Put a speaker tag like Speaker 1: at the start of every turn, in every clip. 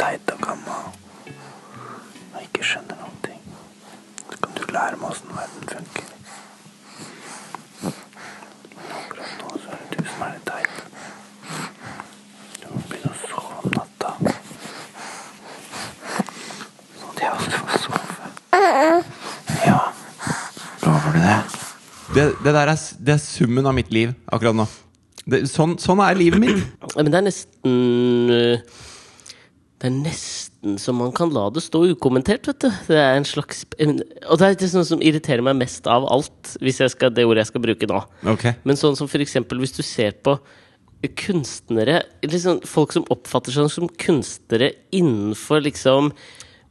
Speaker 1: teit og gammel og ikke skjønner noen ting. Så kan du lære meg åssen verden funker. Men akkurat nå så er det du som er litt teit. Du må begynne å sove om natta. Sånn at jeg også får sove. Ja. Lover du det?
Speaker 2: Det, det der er, s- det er summen av mitt liv akkurat nå. Det, sånn, sånn er livet mitt.
Speaker 3: Ja, Men det er nesten øh, Det er nesten så man kan la det stå ukommentert, vet du. Det er en slags en- Og det er det sånn som irriterer meg mest av alt, hvis jeg skal, det ordet jeg skal bruke nå.
Speaker 2: Ok.
Speaker 3: Men sånn som for eksempel hvis du ser på kunstnere liksom Folk som oppfatter seg som kunstnere innenfor liksom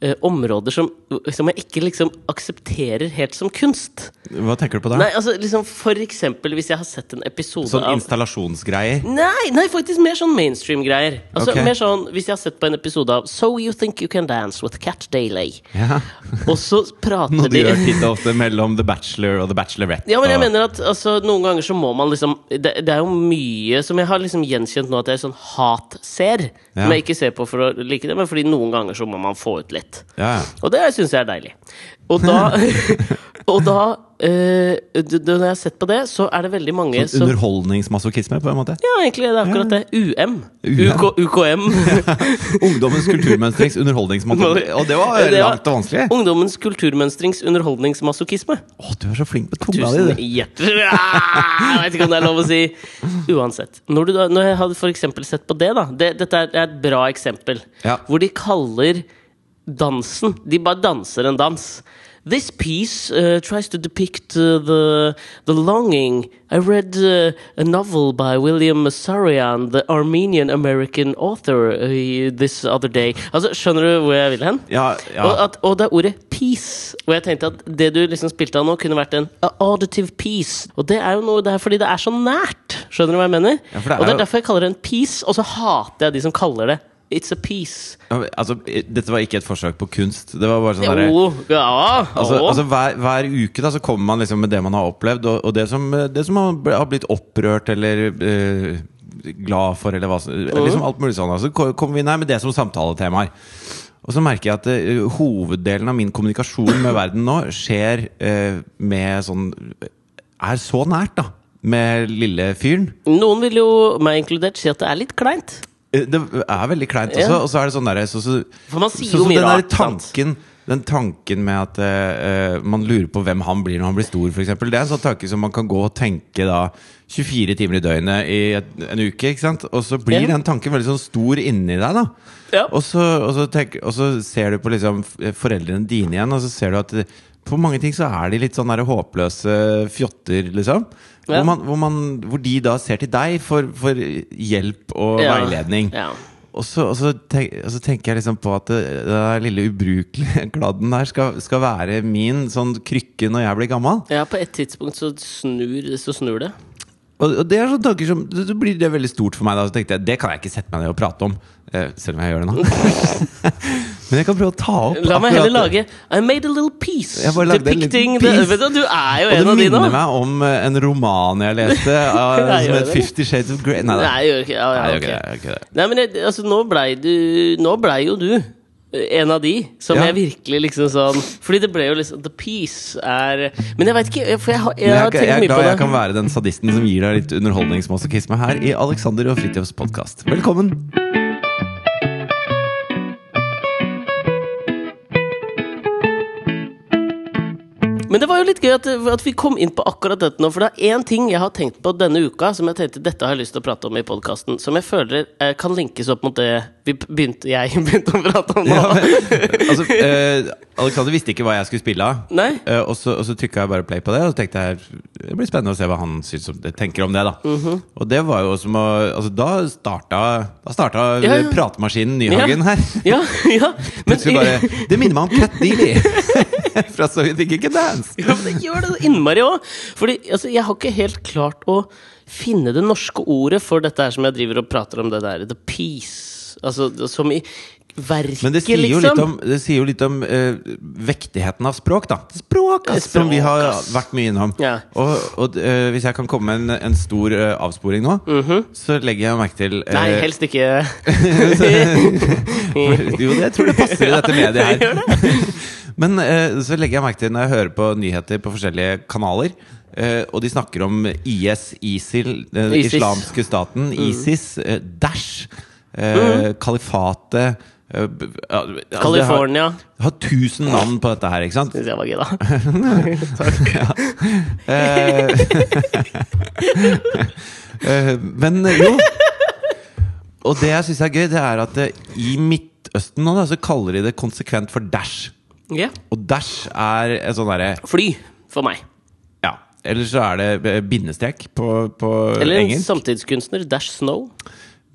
Speaker 3: eh, områder som, som jeg ikke liksom aksepterer helt som kunst.
Speaker 2: Hva tenker du på
Speaker 3: Nei,
Speaker 2: der?
Speaker 3: altså liksom For eksempel hvis jeg har sett en episode
Speaker 2: Sånn
Speaker 3: av
Speaker 2: installasjonsgreier?
Speaker 3: Nei, nei, faktisk mer sånn mainstream-greier. Altså
Speaker 2: Ok.
Speaker 3: mer sånn, Hvis jeg har sett på en episode av So You Think You Can Dance with Cat Daily,
Speaker 2: Ja.
Speaker 3: og så prater
Speaker 2: Noe du
Speaker 3: de
Speaker 2: gjør titt og ofte mellom The Bachelor og The Bachelorette.
Speaker 3: ja, men jeg
Speaker 2: og-
Speaker 3: mener at altså, Noen ganger så må man liksom Det, det er jo mye som jeg har liksom gjenkjent nå at jeg sånn hat-ser.
Speaker 2: Ja.
Speaker 3: Som jeg ikke ser på for å like det, men fordi noen ganger så må man få ut litt.
Speaker 2: ja, ja.
Speaker 3: Og det syns jeg er deilig. Og da, og da eh, d- d- Når jeg har sett på det, så er det veldig mange
Speaker 2: Sånn
Speaker 3: som
Speaker 2: underholdningsmasochisme, på en måte?
Speaker 3: Ja, egentlig. Det er akkurat det. UM.
Speaker 2: UM.
Speaker 3: UK, UKM.
Speaker 2: Ungdommens kulturmønstrings underholdningsmasochisme. Og det var
Speaker 3: Det var-
Speaker 2: langt og vanskelig.
Speaker 3: Ungdommens kulturmønstrings underholdningsmasochisme.
Speaker 2: Å, du er så flink på tunga
Speaker 3: Tusen
Speaker 2: di, du.
Speaker 3: hjertelig Jeg vet ikke om det er lov å si. Uansett. Når, du da, når jeg hadde for eksempel sett på det, da det, Dette er et bra eksempel.
Speaker 2: Ja.
Speaker 3: Hvor de kaller dansen De bare danser en dans. This piece uh, tries to depict uh, the, the longing. I read uh, a novel by William Sarian, the Armenian-American author, uh, this other day. Altså, Skjønner du hvor jeg vil hen?
Speaker 2: Ja, ja.
Speaker 3: Og, at, og det er ordet 'peace'. Og jeg tenkte at det du liksom spilte av nå, kunne vært en auditive peace. Og det er jo noe, det er fordi det er så nært. Skjønner du hva jeg mener?
Speaker 2: Ja, for det er
Speaker 3: og det
Speaker 2: jo-
Speaker 3: er derfor jeg kaller det en peace, og så hater jeg de som kaller det 'it's a peace'.
Speaker 2: Ja, men, Altså, eh, dette var ikke et forsøk på kunst. Det var bare sånn derre
Speaker 3: Jo, ja,
Speaker 2: Altså,
Speaker 3: å.
Speaker 2: altså hver, hver uke da, så kommer man liksom med det man har opplevd, og, og det, som, eh, det som man bl- har blitt opprørt eller eh, glad for, eller hva som liksom Alt mulig sånn. da. Så ko- kommer vi inn her med det som samtaletemaer. Og så merker jeg at eh, hoveddelen av min kommunikasjon med verden nå skjer eh, med sånn Er så nært, da. Med lille fyren.
Speaker 3: Noen vil jo, meg inkludert, si at det er litt kleint.
Speaker 2: Eh, Det er veldig kleint også.
Speaker 3: Ja.
Speaker 2: Og så er det sånn derre så, så,
Speaker 3: For man sier
Speaker 2: så-
Speaker 3: jo
Speaker 2: så
Speaker 3: mye
Speaker 2: den der
Speaker 3: rart, sant?
Speaker 2: tanken Den tanken med at eh, eh, man lurer på hvem han blir når han blir stor, f.eks. Det er en sånn tanke som man kan gå og tenke da 24 timer i døgnet i et, en uke. ikke sant? Og så blir
Speaker 3: Ja.
Speaker 2: den tanken veldig sånn stor inni deg. da
Speaker 3: Ja.
Speaker 2: og, så, og, så tenk, og så ser du på liksom f- foreldrene dine igjen, og så ser du at eh, på mange ting så er de litt sånn der håpløse fjotter, liksom.
Speaker 3: Ja.
Speaker 2: Hvor, man, hvor, man, hvor de da ser til deg for, for hjelp og
Speaker 3: Ja.
Speaker 2: veiledning.
Speaker 3: Ja.
Speaker 2: Og så, og, så tenk, og så tenker jeg liksom på at det, det der lille ubrukelige kladden der skal, skal være min sånn krykke når jeg blir gammel.
Speaker 3: Ja, på et tidspunkt så snur, så snur det.
Speaker 2: Og, og det er sånne tanker som Så blir det veldig stort for meg. Da så tenkte jeg det kan jeg ikke sette meg ned og prate om. Eh, selv om jeg gjør det nå. Men jeg kan prøve å ta opp
Speaker 3: La meg heller
Speaker 2: akkurat-
Speaker 3: lage I made a little piece.
Speaker 2: Jeg bare lagde en liten
Speaker 3: Depicting
Speaker 2: piece.
Speaker 3: The, vet du, du er jo
Speaker 2: Og
Speaker 3: en
Speaker 2: det
Speaker 3: av de nå.
Speaker 2: minner meg om eh, en roman jeg leste av,
Speaker 3: Nei,
Speaker 2: som
Speaker 3: gjør
Speaker 2: het
Speaker 3: det?
Speaker 2: Fifty Shades of Grey. Nei da.
Speaker 3: Nei, jeg gjør ikke ja, ja,
Speaker 2: Nei, det
Speaker 3: ok.
Speaker 2: gjør ikke det, det gjør ikke det.
Speaker 3: Nei, men jeg, altså, nå blei du Nå blei jo du eh, en av de som
Speaker 2: Ja.
Speaker 3: jeg virkelig liksom sånn Fordi det ble jo liksom The Peace er Men jeg veit ikke, for jeg har, jeg
Speaker 2: Men
Speaker 3: har
Speaker 2: jeg,
Speaker 3: tenkt
Speaker 2: jeg er
Speaker 3: mye på
Speaker 2: glad
Speaker 3: det.
Speaker 2: jeg kan være den sadisten som gir deg litt underholdningsmasochisme her i Alexander og Fridtjofs podkast. Velkommen!
Speaker 3: Men det var jo litt gøy at, at vi kom inn på akkurat dette nå. For det er én ting jeg har tenkt på denne uka, som jeg tenkte dette har jeg lyst til å prate om i podkasten. Som jeg føler eh, kan linkes opp mot det vi begynte, jeg begynte å prate om nå.
Speaker 2: Ja, men, altså, eh, Alexander visste ikke hva jeg skulle spille av.
Speaker 3: Nei?
Speaker 2: Eh, og så, og så trykka jeg bare play på det, og så tenkte jeg det blir spennende å se hva han syns om det, tenker om det. Da
Speaker 3: Mhm.
Speaker 2: Og det var jo som å altså, Da starta, da starta
Speaker 3: Ja, ja.
Speaker 2: pratemaskinen Nyhagen her.
Speaker 3: Ja, ja. Men,
Speaker 2: Plutselig bare Det minner meg om Cat Dealey! Fra So You Think You Can Dance.
Speaker 3: Ja, men det gjør det så innmari òg! Fordi altså, jeg har ikke helt klart å finne det norske ordet for dette her som jeg driver og prater om, det der the peace. Altså, som i Verket,
Speaker 2: Men det sier jo
Speaker 3: liksom.
Speaker 2: litt om, det sier jo litt om eh, vektigheten av språk, da. Språk, ass,
Speaker 3: Språk,
Speaker 2: som vi har
Speaker 3: ass.
Speaker 2: vært mye innom.
Speaker 3: Ja.
Speaker 2: Og, og eh, hvis jeg kan komme med en, en stor eh, avsporing nå, så legger jeg merke til eh,
Speaker 3: Mhm. Nei, helst ikke.
Speaker 2: Jo, det- jeg tror det passer i dette mediet her. Men eh, så legger jeg merke til når jeg hører på nyheter på forskjellige kanaler, eh, og de snakker om IS, ISIL, den
Speaker 3: ISIS. Mm.
Speaker 2: islamske staten, ISIS, eh, Daesh, eh, kalifatet eh, b- ja, altså, det har-
Speaker 3: California.
Speaker 2: det har tusen navn på dette her, ikke sant?
Speaker 3: Syns jeg var gøy, da.
Speaker 2: Eh, Men eh, jo Og det jeg syns er gøy, det er at eh, i Midtøsten nå, da, så kaller de det konsekvent for Dash.
Speaker 3: Ja.
Speaker 2: Og Dash er en sånn derre
Speaker 3: Fly, for meg.
Speaker 2: Ja. Eller så er det eh, bindestrek på, på
Speaker 3: Eller en
Speaker 2: engelsk.
Speaker 3: samtidskunstner. Dash Snow.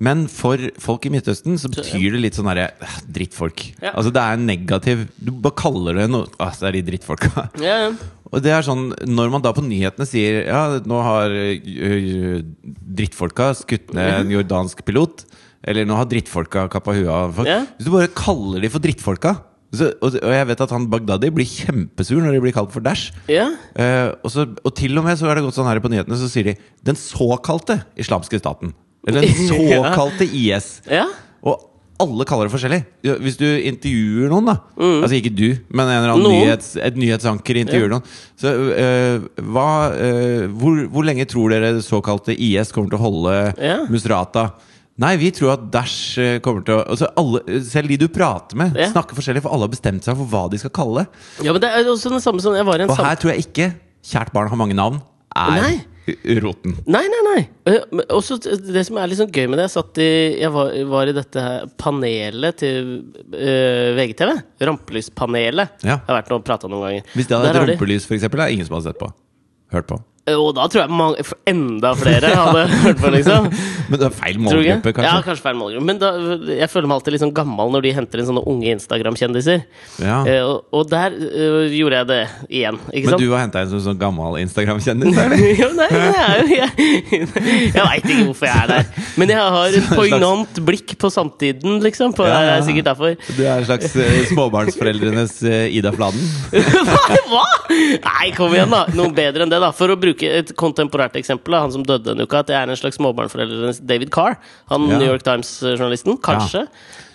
Speaker 2: Men for folk i Midtøsten så betyr det litt sånn derre eh, drittfolk.
Speaker 3: Ja.
Speaker 2: Altså det er en negativ Du bare kaller det noe Altså det er de drittfolka.
Speaker 3: Ja, ja.
Speaker 2: Og det er sånn, Når man da på nyhetene sier Ja, nå har ø, ø, drittfolka skutt ned
Speaker 3: Mhm.
Speaker 2: en jordansk pilot Eller nå har drittfolka kappa huet av folk
Speaker 3: Ja.
Speaker 2: Hvis du bare kaller de for drittfolka så, og, og jeg vet at han Baghdadi blir kjempesur når de blir kalt for Dash
Speaker 3: ja.
Speaker 2: Eh, og, så, og til og med så er det gått sånn her på nyhetene Så sier de Den såkalte islamske staten Eller den såkalte IS
Speaker 3: ja.
Speaker 2: og alle kaller det forskjellig. Ja, Hvis du intervjuer noen, da Altså ikke du, men en eller annen
Speaker 3: Mm. Noen.
Speaker 2: nyhets, et nyhetsanker intervjuer noen. Så øh, hva øh, hvor, hvor lenge tror dere det såkalte IS kommer til å holde
Speaker 3: Ja.
Speaker 2: Musrata? Nei, vi tror at Dash øh, kommer til å altså alle, Selv de du prater med,
Speaker 3: Ja.
Speaker 2: snakker forskjellig, for alle har bestemt seg for hva de skal kalle det.
Speaker 3: ja, men det er også den samme som Jeg var i en
Speaker 2: Og
Speaker 3: sam-
Speaker 2: her tror jeg ikke kjært barn har mange navn. Er
Speaker 3: Nei.
Speaker 2: roten.
Speaker 3: Nei, nei, nei. Eh, men Også t- det som er litt sånn gøy med det Jeg, satt i, jeg var, var i dette her panelet til eh, VGTV. Rampelyspanelet.
Speaker 2: Ja.
Speaker 3: Jeg har vært og prata noen ganger.
Speaker 2: Hvis det hadde
Speaker 3: Der
Speaker 2: et
Speaker 3: har de-
Speaker 2: rumpelys, f.eks., er det ingen som hadde sett på. Hørt på.
Speaker 3: Eh, Og da tror jeg mange, f- enda flere hadde hørt på, liksom.
Speaker 2: Men det er feil
Speaker 3: Tror du ikke?
Speaker 2: målgruppe,
Speaker 3: Ja,
Speaker 2: kanskje.
Speaker 3: kanskje feil målgruppe. Men da, jeg føler meg alltid litt sånn gammel når de henter inn sånne unge Instagram-kjendiser.
Speaker 2: Ja.
Speaker 3: Eh, og, og der eh, gjorde jeg det igjen, ikke
Speaker 2: Men
Speaker 3: sant?
Speaker 2: du har henta en som sånn gammel Instagram-kjendis? eller?
Speaker 3: jo, nei, det er jo Jeg, jeg veit ikke hvorfor jeg er der. Men jeg har et poignant blikk på samtiden, liksom. På,
Speaker 2: Ja, ja, ja.
Speaker 3: Det er sikkert derfor.
Speaker 2: Du er en slags eh, småbarnsforeldrenes eh, Ida Fladen?
Speaker 3: Nei, Hva?! Nei, kom igjen, da! Noe bedre enn det, da. For å bruke et kontemporært eksempel, da, han som døde denne uka, at jeg er en slags småbarnforeldrenes David Carr. Han
Speaker 2: Ja.
Speaker 3: New York Times-journalisten. Kanskje.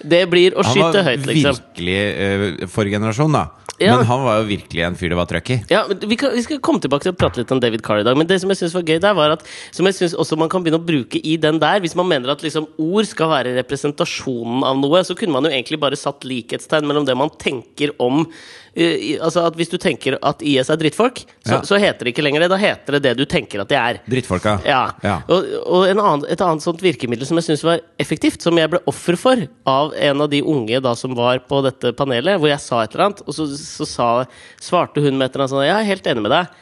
Speaker 3: Det blir å
Speaker 2: Han
Speaker 3: skyte
Speaker 2: var
Speaker 3: høyt, liksom.
Speaker 2: virkelig eh, forrige generasjon, da.
Speaker 3: Ja.
Speaker 2: Men han var jo virkelig en fyr det var trøkk i.
Speaker 3: Ja, men vi, kan, vi skal komme tilbake til å prate litt om David Carr i dag. Men det som jeg synes var gøy der, var at Som jeg synes også man kan begynne å bruke i den der. Hvis man mener at liksom ord skal være representasjonen av noe, så kunne man jo egentlig bare satt likhetstegn mellom det man tenker om eh, i- Altså at Hvis du tenker at IS er drittfolk, så,
Speaker 2: Ja.
Speaker 3: så heter det ikke lenger det. Da heter det det du tenker at det er.
Speaker 2: Drittfolka.
Speaker 3: Ja. Og, og en annen, et annet sånt virkemiddel som jeg syns var effektivt, som jeg ble offer for av en av de unge da som var på dette panelet, hvor jeg sa et eller annet, og så, så sa, svarte hun med et eller annet sånn Jeg er helt enig med deg.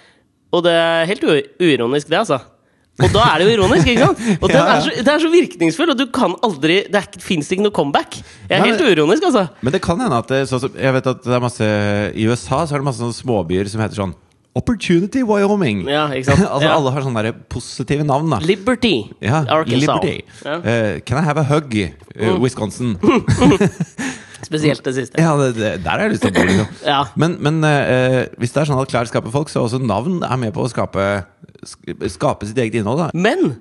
Speaker 3: Og det er helt u- uironisk, det, altså. Og da er det jo ironisk, ikke sant? Og den
Speaker 2: Ja, ja.
Speaker 3: er så, det er så virkningsfull, og du kan aldri Det fins ikke noe comeback. Jeg er
Speaker 2: Nei,
Speaker 3: helt uironisk, altså.
Speaker 2: Men det kan hende at det, sånn som- Jeg vet at det er masse I USA så er det masse sånne småbyer som heter sånn Opportunity Wyoming.
Speaker 3: Ja, ikke sant?
Speaker 2: altså
Speaker 3: Ja.
Speaker 2: Alle har sånne der positive navn, da.
Speaker 3: Liberty.
Speaker 2: Ja,
Speaker 3: Arkansas.
Speaker 2: Liberty.
Speaker 3: Ja, Mm.
Speaker 2: Eh, can I have a hug? eh, Wisconsin.
Speaker 3: spesielt det siste.
Speaker 2: Ja, det, det, der har jeg lyst til å bo. Liksom.
Speaker 3: Ja.
Speaker 2: Men, men eh, hvis det er sånn at klær skaper folk, så også navn er med på å skape, sk- skape sitt eget innhold. Da.
Speaker 3: Men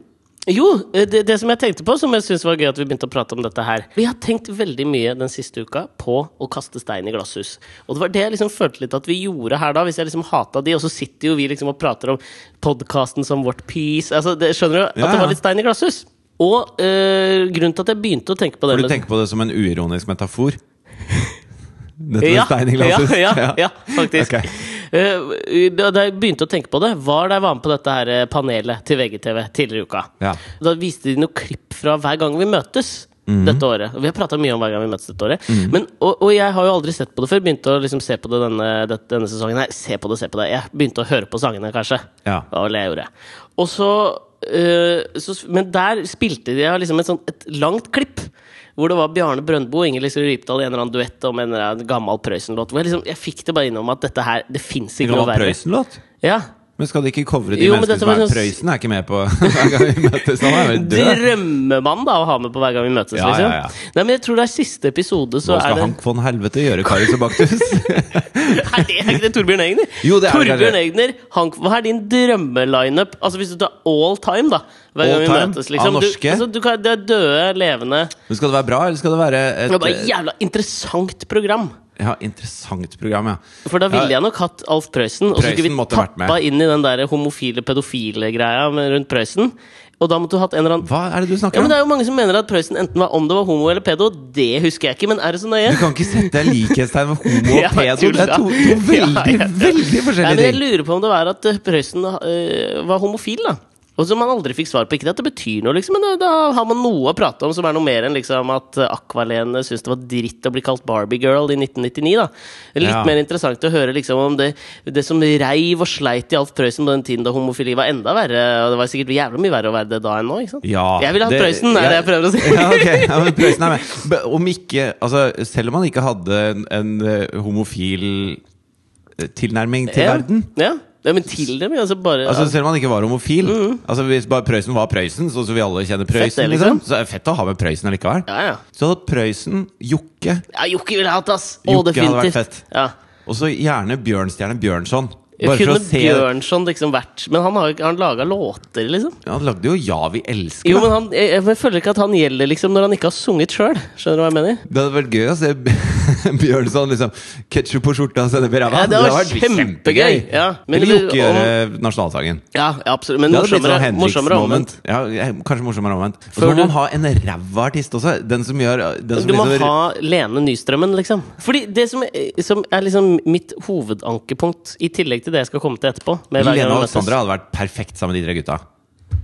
Speaker 3: jo, eh, det, det som jeg tenkte på, som jeg synes var gøy at vi begynte å prate om dette her Vi har tenkt veldig mye den siste uka på å kaste stein i glasshus. Og det var det jeg liksom følte litt at vi gjorde her da, hvis jeg liksom hata de, og så sitter jo vi liksom og prater om podkasten som vårt piece altså, det, Skjønner du? At
Speaker 2: Ja,
Speaker 3: det
Speaker 2: ja.
Speaker 3: var litt stein i glasshus. Og øh, grunnen til at jeg begynte å tenke på det
Speaker 2: For du
Speaker 3: med-
Speaker 2: tenker på det som en uironisk metafor? Dette med
Speaker 3: ja,
Speaker 2: stein i glasshus?
Speaker 3: Ja, ja, ja, faktisk.
Speaker 2: Ok.
Speaker 3: Eh, da da jeg begynte å tenke på det, var da jeg var med på dette her eh, panelet til VGTV tidligere i uka.
Speaker 2: Ja.
Speaker 3: Da viste de noen klipp fra hver gang vi møtes. Dette året, og Vi har prata mye om hver gang vi møtes dette året. Men, og, og jeg har jo aldri sett på det før. Begynte å liksom se på det denne, dette- denne sesongen. her se på det, se på det. Jeg begynte å høre på sangene, kanskje.
Speaker 2: Ja.
Speaker 3: Det var vel det jeg gjorde. Og så, eh, så Men der spilte de jeg liksom et, sånt, et langt klipp. Hvor det var Bjarne Brøndbo og Inger Lise Rypdal i en eller annen duett om en eller annen gammel Prøysen-låt. Hvor jeg, liksom, jeg fikk det bare innom at dette her, det fins
Speaker 2: En
Speaker 3: ikke noe
Speaker 2: gammel
Speaker 3: verre.
Speaker 2: Prøysen-låt?
Speaker 3: Ja.
Speaker 2: Men skal de ikke covre de
Speaker 3: Jo, men
Speaker 2: menneskene
Speaker 3: dette
Speaker 2: som
Speaker 3: var
Speaker 2: er
Speaker 3: sånn-
Speaker 2: Prøysen er ikke med på hver gang vi møtes? Han er jo død.
Speaker 3: Drømmer man da å ha med på hver gang vi møtes?
Speaker 2: Ja,
Speaker 3: liksom?
Speaker 2: ja, ja.
Speaker 3: Nei, men jeg tror det er siste episode, så
Speaker 2: Hva
Speaker 3: er
Speaker 2: skal
Speaker 3: det
Speaker 2: Hank von Helvete gjøre, Karius og Baktus?
Speaker 3: Er det er ikke det Torbjørn Egner?
Speaker 2: Jo, det er det, det er
Speaker 3: Torbjørn
Speaker 2: det.
Speaker 3: Egner, Hank, hva er din drømmelineup? Altså hvis du tar all time, da. Hver
Speaker 2: All
Speaker 3: gang vi
Speaker 2: time?
Speaker 3: møtes, liksom.
Speaker 2: Av
Speaker 3: Du,
Speaker 2: norske?
Speaker 3: altså, du kan, det er døde, levende Det
Speaker 2: Men skal det være bra, eller skal det være
Speaker 3: er bare et
Speaker 2: et
Speaker 3: jævla interessant program.
Speaker 2: ja, interessant program? ja
Speaker 3: For da ville jeg nok hatt Alf Prøysen. Og så skulle
Speaker 2: Preussen
Speaker 3: vi
Speaker 2: måtte vært med.
Speaker 3: tappa inn i den der homofile pedofile greia med- rundt Prøysen. Og da måtte du hatt en eller annen
Speaker 2: Hva er det du
Speaker 3: Ja,
Speaker 2: snakker
Speaker 3: men
Speaker 2: om?
Speaker 3: Det er jo mange som mener at Prøysen enten var om det var homo eller pedo. Det husker jeg ikke, men er det så nøye?
Speaker 2: Du kan ikke sette likhetstegn ved homo
Speaker 3: Ja,
Speaker 2: og pedo. Det er to, to
Speaker 3: tulla.
Speaker 2: veldig,
Speaker 3: Ja, ja.
Speaker 2: veldig
Speaker 3: Nei,
Speaker 2: forskjellige
Speaker 3: men jeg
Speaker 2: ting.
Speaker 3: lurer på om det var at eh, Prøysen eh, var homofil, da. Og som man aldri fikk svar på. Ikke at det betyr noe, liksom, men da, da har man noe å prate om som er noe mer enn liksom, at eh, Aqualene syntes det var dritt å bli kalt Barbie-girl i 1999. da. Litt
Speaker 2: Ja.
Speaker 3: mer interessant å høre liksom, om det, det som reiv og sleit i Alf Prøysen på den tiden da homofili var enda verre. og Det var sikkert jævlig mye verre å være det da enn nå. ikke sant?
Speaker 2: Ja,
Speaker 3: jeg ville hatt Prøysen, er det jeg prøver å si.
Speaker 2: Ja, ok, ja, men Preussen er med. B- Om ikke, altså, selv om han ikke hadde en, en eh, homofil eh, tilnærming til verden
Speaker 3: Ja, ja men til dem, altså bare
Speaker 2: Altså Selv om han ikke var homofil. Altså Hvis bare Prøysen var Prøysen, sånn som vi alle kjenner Prøysen,
Speaker 3: Mm. det, liksom.
Speaker 2: liksom. så er det fett å ha med Prøysen allikevel.
Speaker 3: Ja, ja.
Speaker 2: Så hadde Prøysen, Jokke
Speaker 3: Ja, Jokke ville jeg hatt, ass! Å,
Speaker 2: Jokke hadde vært
Speaker 3: definitivt.
Speaker 2: fett.
Speaker 3: Ja.
Speaker 2: Og så gjerne Bjørnstjerne Bjørnson. Bare for
Speaker 3: Kunne
Speaker 2: å se
Speaker 3: Bjørnson liksom vært Men han har jo ikke- han laga låter, liksom.
Speaker 2: Han lagde jo Ja, vi elsker. da.
Speaker 3: Jo, men han, jeg, jeg føler ikke at han gjelder liksom når han ikke har sunget sjøl. Skjønner du hva jeg mener?
Speaker 2: Det hadde vært gøy å se Bjørnson liksom ketsjup på skjorta og sende
Speaker 3: Ja,
Speaker 2: ræva.
Speaker 3: det hadde vært kjempegøy. Ja, men
Speaker 2: Eller
Speaker 3: det-
Speaker 2: Jokke gjøre nasjonalsangen.
Speaker 3: Ja, ja absolutt. Men
Speaker 2: Det hadde blitt sånn
Speaker 3: morsommere, morsommere
Speaker 2: Henriks-moment.
Speaker 3: omvendt.
Speaker 2: Ja, ja, kanskje morsommere omvendt. Og så
Speaker 3: Før
Speaker 2: må
Speaker 3: du-
Speaker 2: man ha en ræva artist også. Den som gjør den som
Speaker 3: Du må
Speaker 2: liksom-
Speaker 3: ha Lene Nystrømmen, liksom. Fordi det som, er- som er liksom mitt hovedankepunkt, i tillegg til det jeg skal komme til etterpå med hver gang
Speaker 2: Lene
Speaker 3: vi
Speaker 2: og
Speaker 3: møtes.
Speaker 2: Alexandra hadde vært perfekt sammen med de tre gutta.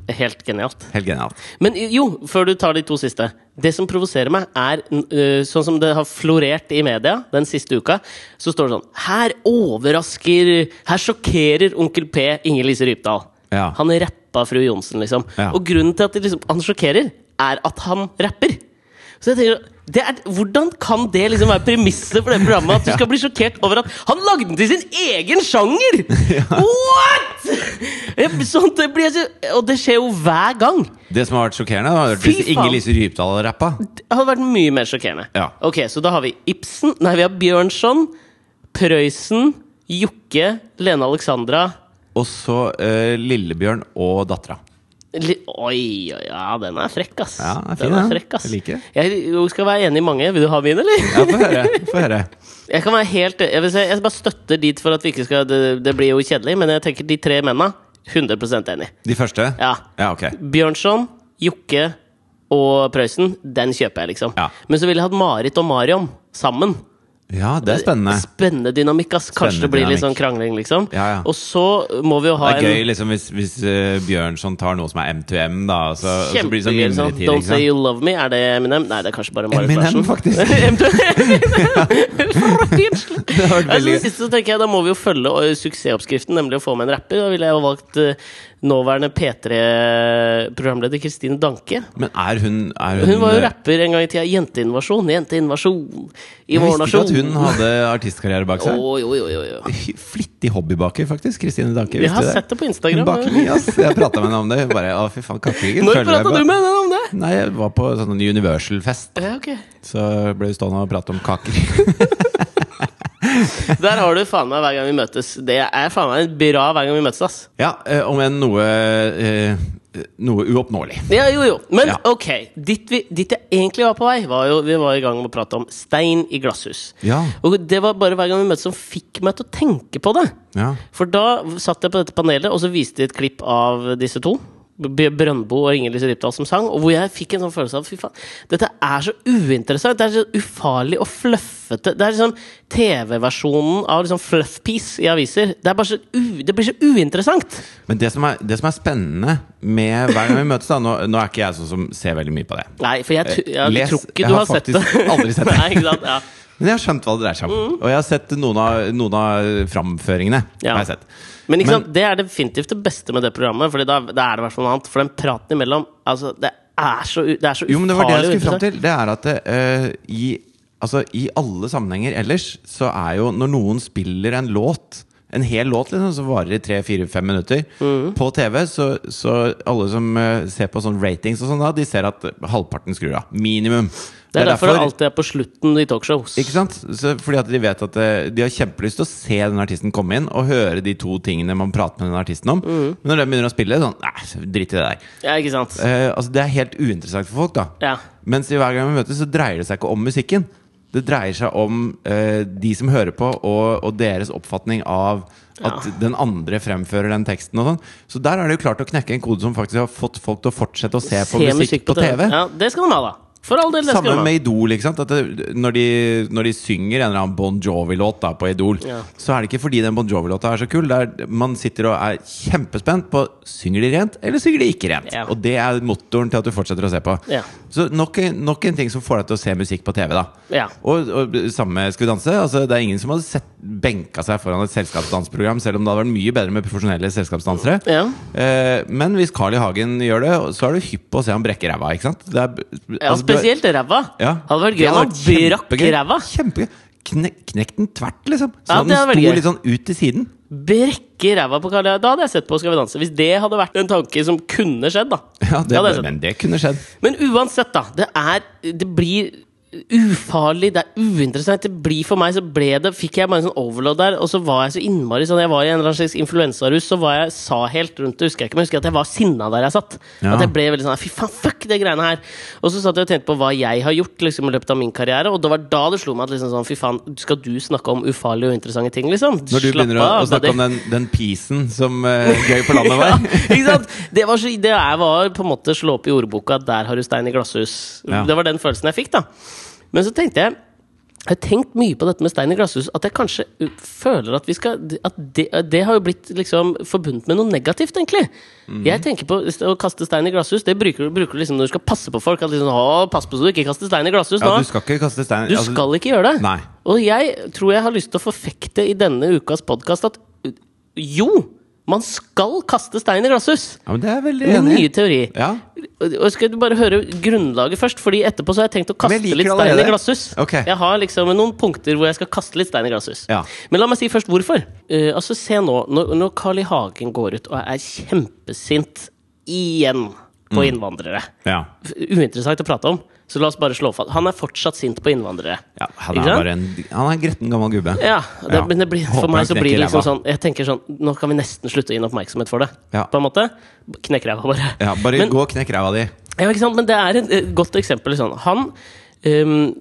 Speaker 3: Helt genialt.
Speaker 2: Helt genialt.
Speaker 3: Men jo, før du tar de to siste. Det som provoserer meg, er øh, sånn som det har florert i media den siste uka, så står det sånn Her overrasker Her sjokkerer onkel P Inger-Lise Rypdal.
Speaker 2: Ja.
Speaker 3: Han rappa fru Johnsen, liksom.
Speaker 2: Ja.
Speaker 3: Og grunnen til at det liksom, han sjokkerer, er at han rapper. Så jeg tenker, det er, Hvordan kan det liksom være premisset for det programmet? At du skal bli sjokkert over at han lagde den til sin egen sjanger?! What?! Jeg- Sånt, det blir jeg så, og det skjer jo hver gang.
Speaker 2: Det som har vært sjokkerende, var
Speaker 3: Fy
Speaker 2: hvis
Speaker 3: faen.
Speaker 2: Inger-Lise Rypdal hadde rappa.
Speaker 3: Det hadde vært mye mer sjokkerende.
Speaker 2: Ja.
Speaker 3: Ok, Så da har vi Ibsen Nei, vi har Bjørnson, Prøysen, Jokke, Lene Alexandra
Speaker 2: Og så eh, Lillebjørn og dattera.
Speaker 3: Li Oi, oi, ja, den er frekk, ass.
Speaker 2: Ja, den er fin,
Speaker 3: den
Speaker 2: den.
Speaker 3: er frekk, ass.
Speaker 2: Jeg liker det.
Speaker 3: Jeg jo, skal være enig i mange. Vil du ha min, eller?
Speaker 2: Ja, få høre. Få høre.
Speaker 3: Jeg kan være helt Jeg, vil si, jeg bare støtter dit for at vi ikke skal Det, det blir jo kjedelig, men jeg tenker de tre menna 100 enig.
Speaker 2: De første?
Speaker 3: Ja.
Speaker 2: ja ok.
Speaker 3: Bjørnson, Jokke og Prøysen, den kjøper jeg, liksom.
Speaker 2: Ja.
Speaker 3: Men så ville jeg hatt Marit og Marion sammen.
Speaker 2: Ja, det er spennende.
Speaker 3: Spennende dynamikk. ass Kanskje
Speaker 2: Spennende
Speaker 3: det blir litt
Speaker 2: dynamikk.
Speaker 3: sånn krangling, liksom.
Speaker 2: Ja, ja.
Speaker 3: Og så må vi jo
Speaker 2: Det
Speaker 3: ha
Speaker 2: er
Speaker 3: en
Speaker 2: gøy liksom hvis, hvis eh, Bjørnson tar noe som er M2M, da. Så, og så blir det sånn
Speaker 3: kjempegøy sånn
Speaker 2: mimretid.
Speaker 3: Don't
Speaker 2: ikke sant?
Speaker 3: say you love me. Er det Eminem? Nei, det er kanskje bare Marit
Speaker 2: Eminem,
Speaker 3: Larsen.
Speaker 2: faktisk.
Speaker 3: Eminem,
Speaker 2: Det har vært
Speaker 3: Ja, så
Speaker 2: veldig gøy.
Speaker 3: Altså, sist så tenker jeg Da må vi jo følge ø, suksessoppskriften, nemlig å få med en rapper. Da ville jeg jo valgt ø, nåværende P3-programleder Kristine Danke.
Speaker 2: Men er hun, er hun, eh,
Speaker 3: Hun var jo rapper en gang i tida. Jenteinvasjon, jenteinvasjon i
Speaker 2: Jeg visste
Speaker 3: vår
Speaker 2: ikke
Speaker 3: nasjon.
Speaker 2: at hun hadde artistkarriere bak seg.
Speaker 3: Å, jo, jo, jo, jo.
Speaker 2: Hy- Flittig hobbybaker, faktisk. Kristine Danke.
Speaker 3: Jeg
Speaker 2: visste
Speaker 3: har
Speaker 2: du det?
Speaker 3: sett det på
Speaker 2: Hun
Speaker 3: Instagram.
Speaker 2: baker mye, ass. Jeg prata med henne om det. Hun bare Å, fy faen, kakeryggen.
Speaker 3: Når
Speaker 2: følger
Speaker 3: prata
Speaker 2: med
Speaker 3: du
Speaker 2: på-
Speaker 3: med henne om det?
Speaker 2: Nei, jeg var på sånn Universal-fest.
Speaker 3: Ja, ok
Speaker 2: Så ble vi stående og prate om kaker.
Speaker 3: Der har du faen meg hver gang vi møtes. Det er faen meg bra hver gang vi møtes, ass.
Speaker 2: Ja, eh, om enn noe eh, Noe uoppnåelig.
Speaker 3: Ja, jo, jo. Men
Speaker 2: Ja.
Speaker 3: ok, dit, vi, dit jeg egentlig var på vei, var jo vi var i gang med å prate om stein i glasshus.
Speaker 2: Ja.
Speaker 3: Og det var bare hver gang vi møttes som fikk meg til å tenke på det.
Speaker 2: Ja.
Speaker 3: For da satt jeg på dette panelet, og så viste de et klipp av disse to. B- Brøndbo og Inger-Lise Rypdal som sang, og hvor jeg fikk en sånn følelse av fy faen, dette er så uinteressant. Det er så ufarlig og fluffete. Det er liksom TV-versjonen av liksom fluff-piece i aviser. Det, er bare så u det blir så uinteressant.
Speaker 2: Men det som, er, det som er spennende med hver gang vi møtes da, Nå, nå er ikke jeg sånn som ser veldig mye på det.
Speaker 3: Nei, for jeg, tu- jeg
Speaker 2: les-
Speaker 3: tror ikke
Speaker 2: jeg
Speaker 3: du
Speaker 2: har
Speaker 3: har sett det.
Speaker 2: faktisk aldri sett det.
Speaker 3: Nei, ikke sant? Ja.
Speaker 2: Men jeg har skjønt hva det dreier seg om. Og jeg har sett noen av, noen av framføringene.
Speaker 3: Mm. Ja.
Speaker 2: Har jeg sett.
Speaker 3: Men ikke
Speaker 2: Men-
Speaker 3: sant, det er definitivt det beste med det programmet, Fordi da, da er det i hvert fall noe annet. For den praten imellom, altså, det er så, u- det er så
Speaker 2: Jo, men det var det jeg
Speaker 3: ufarlig
Speaker 2: skulle fram
Speaker 3: uinteressant.
Speaker 2: til. Det er at eh, i, altså, i alle sammenhenger ellers, så er jo når noen spiller en låt en hel låt liksom, som varer i tre-fire-fem minutter.
Speaker 3: Mm.
Speaker 2: På TV, så, så alle som eh, ser på sånn ratings og sånn, da, de ser at halvparten skrur av. Minimum.
Speaker 3: Det er derfor det alltid er på slutten i talkshows.
Speaker 2: Ikke sant? Så fordi at de vet at eh, de har kjempelyst til å se den artisten komme inn og høre de to tingene man prater med den artisten om. Men når den begynner å spille, sånn Nei, drit i det der.
Speaker 3: Ja, ikke sant?
Speaker 2: Eh, altså, det er helt uinteressant for folk, da.
Speaker 3: Ja.
Speaker 2: Mens i hver gang vi møtes, så dreier det seg ikke om musikken. Det dreier seg om eh, de som hører på, og, og deres oppfatning av at
Speaker 3: Ja.
Speaker 2: den andre fremfører den teksten. og sånn Så der er det jo klart å knekke en kode som faktisk har fått folk til å fortsette å se, på musikk, på TV.
Speaker 3: Ja, det skal man ha, da. For all del, det skal
Speaker 2: Samme
Speaker 3: man ha.
Speaker 2: med Idol. ikke sant? At det, når, de, når de synger en eller annen Bon Jovi-låt da på Idol,
Speaker 3: Ja.
Speaker 2: så er det ikke fordi den Bon Jovi-låta er så kul. Det er, man sitter og er kjempespent på synger de rent, eller synger de ikke rent.
Speaker 3: Ja.
Speaker 2: Og det er motoren til at du fortsetter å se på.
Speaker 3: Ja.
Speaker 2: Så nok, en- nok en ting som får deg til å se musikk på TV. da
Speaker 3: Ja.
Speaker 2: Og, og samme med Skal vi danse. Altså, det er ingen som hadde sett, benka seg foran et selskapsdansprogram, selv om det hadde vært mye bedre med profesjonelle selskapsdansere.
Speaker 3: Ja.
Speaker 2: Eh, men hvis Carl I. Hagen gjør det, så er du hypp på å se han brekke ræva. ikke sant? Det er,
Speaker 3: Ja,
Speaker 2: altså, du er-
Speaker 3: spesielt ræva.
Speaker 2: ja.
Speaker 3: Hadde vært gøy om han
Speaker 2: Det hadde vært
Speaker 3: brakk
Speaker 2: kjempegøy.
Speaker 3: ræva.
Speaker 2: Kjempegøy. Kne, knekk den tvert, liksom. Så
Speaker 3: Ja,
Speaker 2: den
Speaker 3: det hadde vært
Speaker 2: sto
Speaker 3: gøy.
Speaker 2: litt sånn ut til siden.
Speaker 3: Brekke ræva på Karl Johan. Da hadde jeg sett på Skal vi danse. Hvis det hadde vært en tanke som kunne skjedd, da.
Speaker 2: Ja, det,
Speaker 3: Da hadde jeg sett.
Speaker 2: men det kunne skjedd.
Speaker 3: Men uansett, da. Det er Det blir ufarlig, det er uinteressant. Det blir for meg, så ble det Fikk jeg bare en sånn overload der, og så var jeg så innmari sånn Jeg var i en eller annen slags influensarus, så var jeg sa helt rundt det, husker jeg ikke, men jeg husker at jeg var sinna der jeg satt.
Speaker 2: Ja.
Speaker 3: At jeg ble veldig sånn Fy faen, fuck det greiene her! Og så satt jeg og tenkte på hva jeg har gjort liksom, i løpet av min karriere, og det var da det slo meg at liksom sånn Fy faen, skal du snakke om ufarlige og interessante ting, liksom?
Speaker 2: Når du begynner å, å snakke om den, den pisen som eh, Gøy på landet var.
Speaker 3: ikke sant? Det var, så, det er- var på en måte slå opp i ordboka 'der har du stein i glasshus'.
Speaker 2: Ja.
Speaker 3: Det var den følelsen jeg fikk, da. Men så tenkte jeg jeg har tenkt mye på dette med stein i glasshus. At jeg kanskje uh, føler at vi skal At det, det har jo blitt liksom forbundet med noe negativt, egentlig.
Speaker 2: Mhm.
Speaker 3: Jeg tenker på å kaste stein i glasshus. Det bruker, du- bruker du liksom når du skal passe på folk. At liksom, å, pass på så du ikke kaster stein i glasshus
Speaker 2: Ja,
Speaker 3: nå.
Speaker 2: du skal ikke kaste stein.
Speaker 3: Du
Speaker 2: altså,
Speaker 3: skal ikke gjøre det.
Speaker 2: Nei.
Speaker 3: Og jeg tror jeg har lyst til å forfekte i denne ukas podkast at uh, jo, man skal kaste stein i glasshus!
Speaker 2: Ja, men det er jeg veldig
Speaker 3: Min
Speaker 2: enig i.
Speaker 3: nye teori.
Speaker 2: Ja.
Speaker 3: Og og skal du bare høre grunnlaget først? Fordi etterpå så har jeg tenkt å kaste
Speaker 2: Men jeg liker
Speaker 3: litt
Speaker 2: det
Speaker 3: stein i
Speaker 2: allerede.
Speaker 3: glasshus.
Speaker 2: Ok.
Speaker 3: Jeg har liksom noen punkter hvor jeg skal kaste litt stein i glasshus.
Speaker 2: Ja.
Speaker 3: Men la meg si først hvorfor. Eh, altså Se nå, når, når Carl I. Hagen går ut og er kjempesint igjen på
Speaker 2: Mm.
Speaker 3: innvandrere
Speaker 2: Ja.
Speaker 3: f- uinteressant å prate om. Så la oss bare slå fast. Han er fortsatt sint på innvandrere.
Speaker 2: ja han,
Speaker 3: Ikke
Speaker 2: er
Speaker 3: sant?
Speaker 2: bare en, han er en gretten gammel gubbe.
Speaker 3: Ja, det,
Speaker 2: Ja.
Speaker 3: men det blir,
Speaker 2: Håper
Speaker 3: for meg
Speaker 2: han
Speaker 3: så blir det
Speaker 2: knekker
Speaker 3: liksom
Speaker 2: ræva.
Speaker 3: sånn Jeg tenker sånn, Nå kan vi nesten slutte å gi ham oppmerksomhet for det.
Speaker 2: Ja.
Speaker 3: På en måte Knekk ræva, bare.
Speaker 2: Ja, bare
Speaker 3: men,
Speaker 2: gå og knekk ræva di.
Speaker 3: ja, ikke sant? men det er et eh, godt eksempel. Liksom. Han ehm,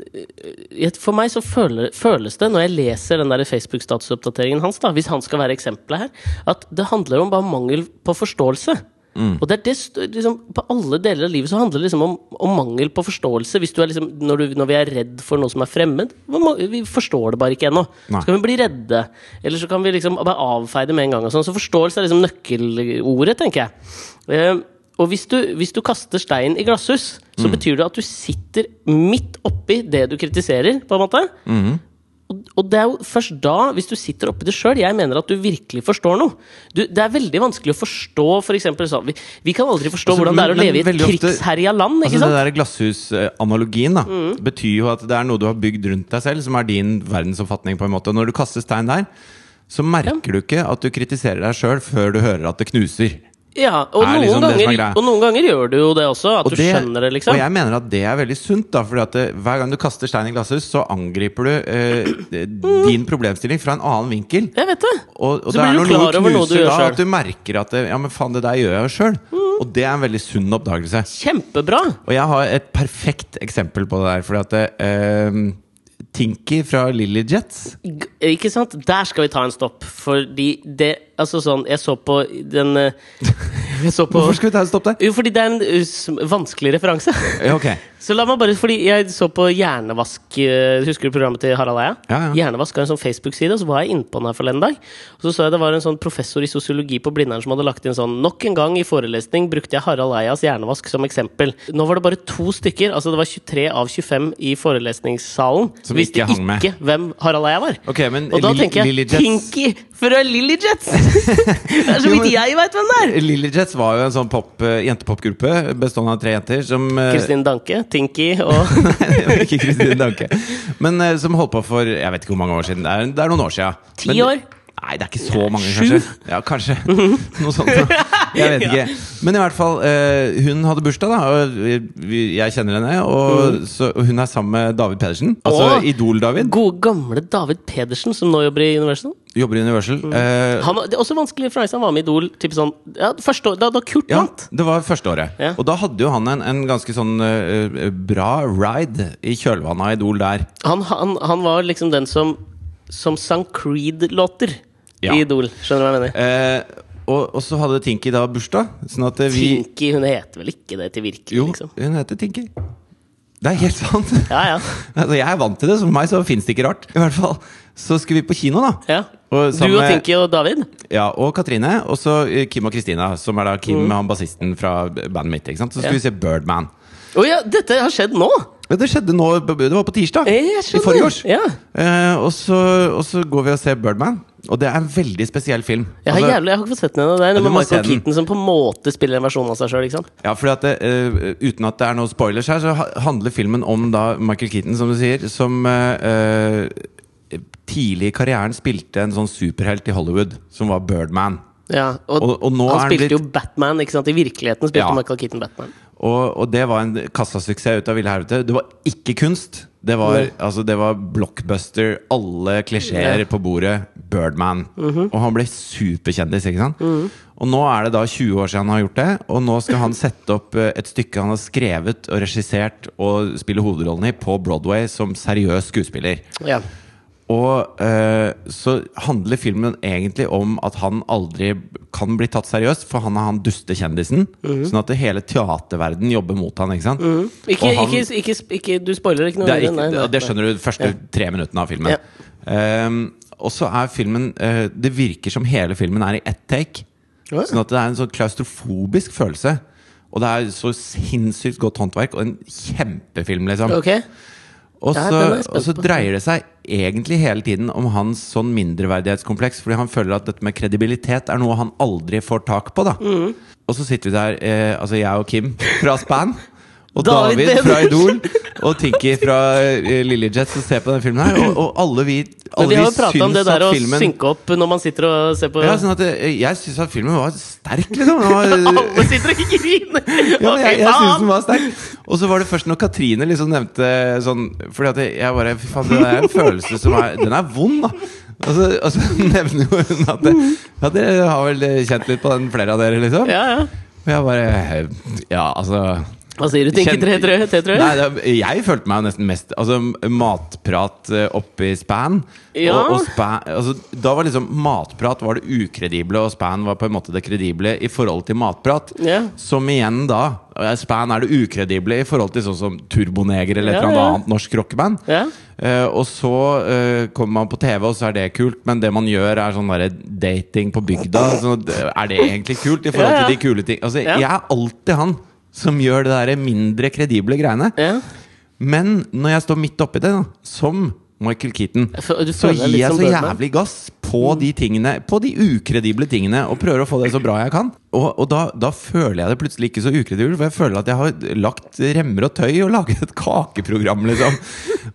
Speaker 3: eh, For meg så føler, føles det, når jeg leser den der Facebook-statusoppdateringen hans, da, hvis han skal være eksempelet her, at det handler om bare mangel på forståelse. Og det er det, st- liksom, På alle deler av livet så handler det liksom om, om mangel på forståelse. Hvis du er liksom, når, du, når vi er redd for noe som er fremmed. hvor ma- Vi forstår det bare ikke ennå.
Speaker 2: Nei.
Speaker 3: Så kan vi bli redde. Eller så kan vi liksom bare avfeie det med en gang. Og sånn. så forståelse er liksom nøkkelordet, tenker jeg. Eh, og hvis du, hvis du kaster stein i glasshus, så
Speaker 2: Mm.
Speaker 3: betyr det at du sitter midt oppi det du kritiserer, på en måte.
Speaker 2: Mm-hmm.
Speaker 3: Og, og det er jo først da, hvis du sitter oppi det sjøl, jeg mener at du virkelig forstår noe. Du, det er veldig vanskelig å forstå for eksempel, sånn vi, vi kan aldri forstå
Speaker 2: Altså,
Speaker 3: hvordan det er å
Speaker 2: men-
Speaker 3: leve i
Speaker 2: men
Speaker 3: et
Speaker 2: veldig ofte-
Speaker 3: krigsherja land, ikke
Speaker 2: Altså
Speaker 3: sant? Mm.
Speaker 2: Det der glasshusanalogien da betyr jo at det er noe du har bygd rundt deg selv, som er din verdensoppfatning. på en måte Og når du kaster stein der, så merker du ikke at du kritiserer deg sjøl før du hører at det knuser.
Speaker 3: Ja, og
Speaker 2: er
Speaker 3: noen,
Speaker 2: liksom det som er
Speaker 3: ganger,
Speaker 2: greia.
Speaker 3: og noen ganger gjør du jo det også, at
Speaker 2: Og
Speaker 3: du skjønner det, liksom.
Speaker 2: og jeg mener at det er veldig sunt, da Fordi at det, hver gang du kaster stein i glasshus, så angriper du eh, din problemstilling fra en annen vinkel.
Speaker 3: jeg vet det!
Speaker 2: Og, og
Speaker 3: Mm. Så
Speaker 2: det er
Speaker 3: blir du
Speaker 2: når noe
Speaker 3: klar over noe du
Speaker 2: knuser
Speaker 3: gjør
Speaker 2: da,
Speaker 3: selv. Mm.
Speaker 2: at du merker at det, Ja, men faen, det der gjør jeg jo sjøl. Og det er en veldig sunn oppdagelse.
Speaker 3: Kjempebra!
Speaker 2: Og jeg har et perfekt eksempel på det der. Fordi at eh, Tinky fra Lilly Jets
Speaker 3: G- Ikke sant? Der skal vi ta en stopp. Fordi det Altså sånn, jeg så på den eh, Jeg så på
Speaker 2: Hvorfor skal vi ta en stopp der?
Speaker 3: Jo, fordi det er en eh, s- vanskelig referanse.
Speaker 2: Ja, ok
Speaker 3: Så la meg bare, fordi Jeg så på Hjernevask eh, Husker du programmet til Harald Eia?
Speaker 2: Ja, ja.
Speaker 3: Hjernevask har en sånn Facebook-side, og så var jeg inne på den her forleden dag. Og så så jeg det var en sånn professor i sosiologi på Blindern som hadde lagt inn sånn Nok en gang i forelesning brukte jeg Harald Eias hjernevask som eksempel. Nå var det bare to stykker, altså det var 23 av 25 i forelesningssalen,
Speaker 2: Som
Speaker 3: visste
Speaker 2: ikke hang med.
Speaker 3: ikke hvem Harald Eia var.
Speaker 2: Ok, men
Speaker 3: og da
Speaker 2: Lil-
Speaker 3: tenker jeg
Speaker 2: Lilly Jets-
Speaker 3: Pinky fra Lilly Jets! det er så
Speaker 2: Jo,
Speaker 3: vidt
Speaker 2: men-
Speaker 3: jeg veit hvem det er!
Speaker 2: Lilly Jets var jo en sånn pop, eh, jentepopgruppe bestående av tre jenter som eh,
Speaker 3: Kristin Danke, Tinky og
Speaker 2: det var Ikke Kristin Danke. Men eh, som holdt på for jeg vet ikke hvor mange år siden. Det er, det er noen år siden.
Speaker 3: Ti
Speaker 2: Men-
Speaker 3: år?
Speaker 2: Nei, det er ikke så mange,
Speaker 3: Sju? Mhm.
Speaker 2: kanskje. Ja, kanskje. Noe sånt. da. Jeg vet ikke. Men i hvert fall, eh, hun hadde bursdag, da. Og vi- jeg kjenner henne. Og så, og hun er sammen med David Pedersen. Altså
Speaker 3: Mhm. Åh.
Speaker 2: Idol-David.
Speaker 3: Gode, gamle David Pedersen, som nå jobber i Universal.
Speaker 2: Jobber i Universal. Eh,
Speaker 3: Mhm. Han, var- det er også vanskelig for meg som var med i Idol. Typ sånn, ja, første år, da, da Kurt
Speaker 2: ja,
Speaker 3: vant.
Speaker 2: det var første året.
Speaker 3: Ja.
Speaker 2: Og da hadde jo han en, en ganske sånn eh, bra ride i kjølvannet av Idol der.
Speaker 3: Han, han, han var liksom den som, som sang Creed-låter
Speaker 2: Ja.
Speaker 3: i Idol. Skjønner du hva jeg mener?
Speaker 2: Eh, og, og så hadde Tinky da bursdag. Sånn at eh, vi
Speaker 3: Tinky, hun heter vel ikke det til virkelig,
Speaker 2: Jo,
Speaker 3: liksom?
Speaker 2: hun heter Tinky. Det er helt sant.
Speaker 3: Ja, ja.
Speaker 2: Altså, jeg er vant til det, så for meg så fins det ikke rart. I hvert fall, Så skulle vi på kino, da.
Speaker 3: ja.
Speaker 2: Og
Speaker 3: Du
Speaker 2: sammen
Speaker 3: og
Speaker 2: med-
Speaker 3: Tinky og David?
Speaker 2: Ja, Og Katrine. Og så eh, Kim og Kristina, som er da Kim, han bassisten fra bandet mitt. ikke sant? Så skulle
Speaker 3: Mm. Ja.
Speaker 2: vi se Birdman.
Speaker 3: Å ja, dette har skjedd nå!
Speaker 2: Men det skjedde nå, det var på tirsdag.
Speaker 3: Eh,
Speaker 2: I
Speaker 3: jeg skjønner.
Speaker 2: forrige års.
Speaker 3: Ja.
Speaker 2: Eh, og, så, og så går vi og ser Birdman, og det er en veldig spesiell film.
Speaker 3: Jeg har,
Speaker 2: Altså-
Speaker 3: jævlig, jeg har ikke fått sett den ennå. Det er
Speaker 2: Ja,
Speaker 3: noe
Speaker 2: du
Speaker 3: med
Speaker 2: må se
Speaker 3: Michael
Speaker 2: den.
Speaker 3: Keaton som på en måte spiller en versjon av seg sjøl.
Speaker 2: Ja, fordi at det, eh, Uten at det er noen spoilers her, så ha- handler filmen om da Michael Keaton, som du sier, som eh, eh, tidlig i karrieren spilte en sånn superhelt i Hollywood, som var Birdman.
Speaker 3: Ja, og,
Speaker 2: Og- og nå er
Speaker 3: han
Speaker 2: han
Speaker 3: spilte
Speaker 2: blitt-
Speaker 3: jo Batman, ikke sant? I virkeligheten spilte
Speaker 2: Ja.
Speaker 3: Michael Keaton Batman.
Speaker 2: Og, og det var en kassasuksess ut av ville helvete. Det var ikke kunst. Det var,
Speaker 3: Nei.
Speaker 2: altså, det var blockbuster, alle klisjeer
Speaker 3: Ja. Mhm.
Speaker 2: på bordet. Birdman. Og han ble superkjendis, ikke sant? Og nå er det da 20 år siden han har gjort det, og nå skal han sette opp eh, et stykke han har skrevet og regissert og spiller hovedrollen i på Broadway som seriøs skuespiller.
Speaker 3: Ja.
Speaker 2: Og eh, så handler filmen egentlig om at han aldri kan bli tatt seriøst, for han er han dustekjendisen.
Speaker 3: Mhm.
Speaker 2: Sånn at det hele teaterverdenen jobber mot han, ikke sant?
Speaker 3: Ikke,
Speaker 2: Og han-
Speaker 3: ikke, ikke, ikke Du spoiler ikke noe?
Speaker 2: det, er ikke,
Speaker 3: videre, Mhm. nei, nei,
Speaker 2: det
Speaker 3: nei.
Speaker 2: skjønner du de første tre minuttene av filmen.
Speaker 3: Ja.
Speaker 2: Ehm, og så er filmen eh, Det virker som hele filmen er i ett take.
Speaker 3: Ja.
Speaker 2: Sånn at det er en sånn klaustrofobisk følelse. Og det er så sinnssykt godt håndverk, og en kjempefilm, liksom.
Speaker 3: Ok,
Speaker 2: Og
Speaker 3: Ja,
Speaker 2: så,
Speaker 3: den er jeg spent
Speaker 2: og så
Speaker 3: på.
Speaker 2: dreier det seg egentlig hele tiden om hans sånn mindreverdighetskompleks, fordi han føler at dette med kredibilitet er noe han aldri får tak på. da
Speaker 3: Mm.
Speaker 2: Og så sitter vi der, eh, altså jeg og Kim fra Span, og
Speaker 3: David
Speaker 2: David fra Idol
Speaker 3: Pedersen.
Speaker 2: og Tinky fra eh, Lillejets og ser på denne filmen her. Og, og alle vi,
Speaker 3: Men
Speaker 2: alle
Speaker 3: vi
Speaker 2: vi
Speaker 3: har jo prata om det
Speaker 2: syns
Speaker 3: der
Speaker 2: at
Speaker 3: å
Speaker 2: filmen
Speaker 3: synke opp når man sitter og ser på
Speaker 2: ja, sånn at eh, Jeg syns at filmen var sterk, liksom. Den var,
Speaker 3: Alle sitter og griner!
Speaker 2: ja, men
Speaker 3: Ok,
Speaker 2: jeg, jeg synes
Speaker 3: faen!
Speaker 2: den var sterk. Og så var det først når Katrine liksom nevnte sånn Fordi at jeg- jeg bare Fy faen, det er en følelse som er Den er vond, da. Og så, og så nevner jo hun at det, Ja, dere har vel kjent litt på den, flere av dere, liksom?
Speaker 3: Ja, ja.
Speaker 2: Og jeg bare Ja, altså
Speaker 3: Hva sier du, Tinky
Speaker 2: Kjenn-
Speaker 3: Tre Trø? Tre Trø?
Speaker 2: Nei, det, jeg følte meg jo nesten mest Altså matprat eh, oppe i span.
Speaker 3: Ja.
Speaker 2: Og, og span altså, da var liksom matprat var det ukredible, og span var på en måte det kredible i forhold til matprat.
Speaker 3: Ja.
Speaker 2: Som igjen da eh, Span er det ukredible i forhold til sånn som Turboneger eller et
Speaker 3: Ja,
Speaker 2: eller annet
Speaker 3: ja.
Speaker 2: annet norsk rockeband.
Speaker 3: Ja.
Speaker 2: Eh, og så eh, kommer man på TV, og så er det kult, men det man gjør, er sånn derre dating på bygda. Så d- er det egentlig kult i forhold
Speaker 3: Ja, ja.
Speaker 2: til de kule ting? Altså,
Speaker 3: Ja.
Speaker 2: Jeg er alltid han som gjør det derre mindre kredible greiene.
Speaker 3: Ja.
Speaker 2: Men når jeg står midt oppi det, da, som Michael Keaton,
Speaker 3: Jeg føl- du
Speaker 2: så
Speaker 3: føler deg
Speaker 2: gir
Speaker 3: litt
Speaker 2: jeg
Speaker 3: som Mm.
Speaker 2: så
Speaker 3: Birdman.
Speaker 2: jævlig gass på de tingene På de ukredible tingene og prøver å få det så bra jeg kan. Og, og da, da føler jeg det plutselig ikke så ukredible, for jeg føler at jeg har lagt remmer og tøy og laget et kakeprogram, liksom.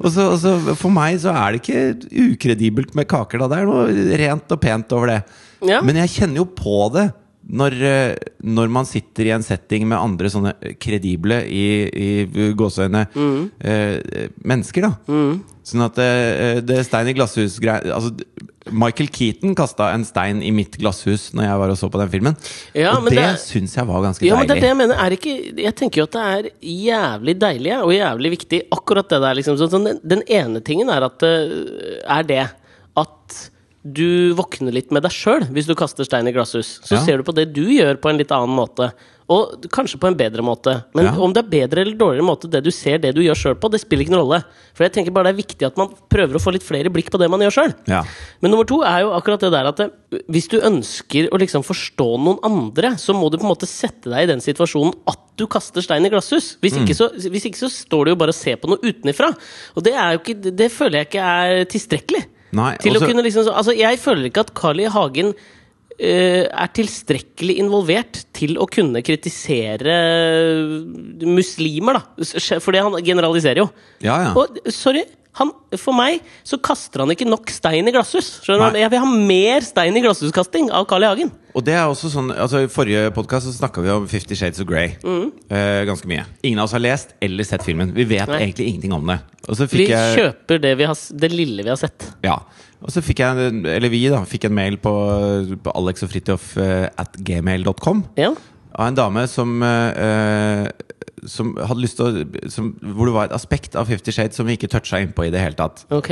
Speaker 2: Og så, og så for meg så er det ikke ukredibelt med kaker, da. Det er noe rent og pent over det.
Speaker 3: Ja.
Speaker 2: Men jeg kjenner jo på det. Når, eh, når man sitter i en setting med andre sånne kredible i, i gåseøyne
Speaker 3: Mm.
Speaker 2: eh, mennesker, da. Sånn at eh, det stein i glasshus grei- altså, Michael Keaton kasta en stein i mitt glasshus når jeg var og så på den filmen.
Speaker 3: Ja,
Speaker 2: og
Speaker 3: men
Speaker 2: det,
Speaker 3: det er-
Speaker 2: syns jeg var ganske
Speaker 3: Ja, men det er
Speaker 2: deilig.
Speaker 3: det jeg mener. Er det ikke, jeg tenker jo at det er jævlig deilig ja, og jævlig viktig, akkurat det der. Liksom. Så, sånn, den, den ene tingen er at øh, Er det at du våkner litt med deg sjøl hvis du kaster stein i glasshus. Så
Speaker 2: Ja.
Speaker 3: ser du på det du gjør, på en litt annen måte. Og kanskje på en bedre måte. Men
Speaker 2: Ja.
Speaker 3: om det er bedre eller dårligere måte, det du ser det du gjør sjøl på, det spiller ikke noen rolle. For jeg tenker bare det er viktig at man prøver å få litt flere blikk på det man gjør sjøl.
Speaker 2: Ja.
Speaker 3: Men nummer to er jo akkurat det der at det, hvis du ønsker å liksom forstå noen andre, så må du på en måte sette deg i den situasjonen at du kaster stein i glasshus. Hvis,
Speaker 2: Mm.
Speaker 3: ikke, så, hvis ikke så står du jo bare og ser på noe utenifra. Og det, er jo ikke, det- det føler jeg ikke er tilstrekkelig.
Speaker 2: Nei,
Speaker 3: til
Speaker 2: også-
Speaker 3: å kunne liksom, så- altså, jeg føler ikke at Carl I. Hagen eh, er tilstrekkelig involvert til å kunne kritisere muslimer, da. S- Fordi han generaliserer jo.
Speaker 2: Ja, ja.
Speaker 3: Og sorry, han, for meg så kaster han ikke nok stein i glasshus. Skjønner du?
Speaker 2: Nei.
Speaker 3: Jeg vil ha mer stein i glasshuskasting av Carl I. Hagen.
Speaker 2: Og det er også sånn altså I forrige podkast snakka vi om Fifty Shades of Grey.
Speaker 3: Mm.
Speaker 2: Eh, ganske mye. Ingen av oss har lest eller sett filmen. Vi vet
Speaker 3: Nei.
Speaker 2: egentlig ingenting om det. Og så
Speaker 3: Vi
Speaker 2: fikk jeg
Speaker 3: kjøper det, vi har, s- det lille vi har sett.
Speaker 2: Ja. Og så fikk jeg, eller vi da, fikk en mail på, på Alex og Fridtjof eh, at gmail.com
Speaker 3: Ja.
Speaker 2: av en dame som, eh, som hadde lyst til å som, Hvor det var et aspekt av Fifty Shades som vi ikke toucha innpå i det hele tatt.
Speaker 3: Ok.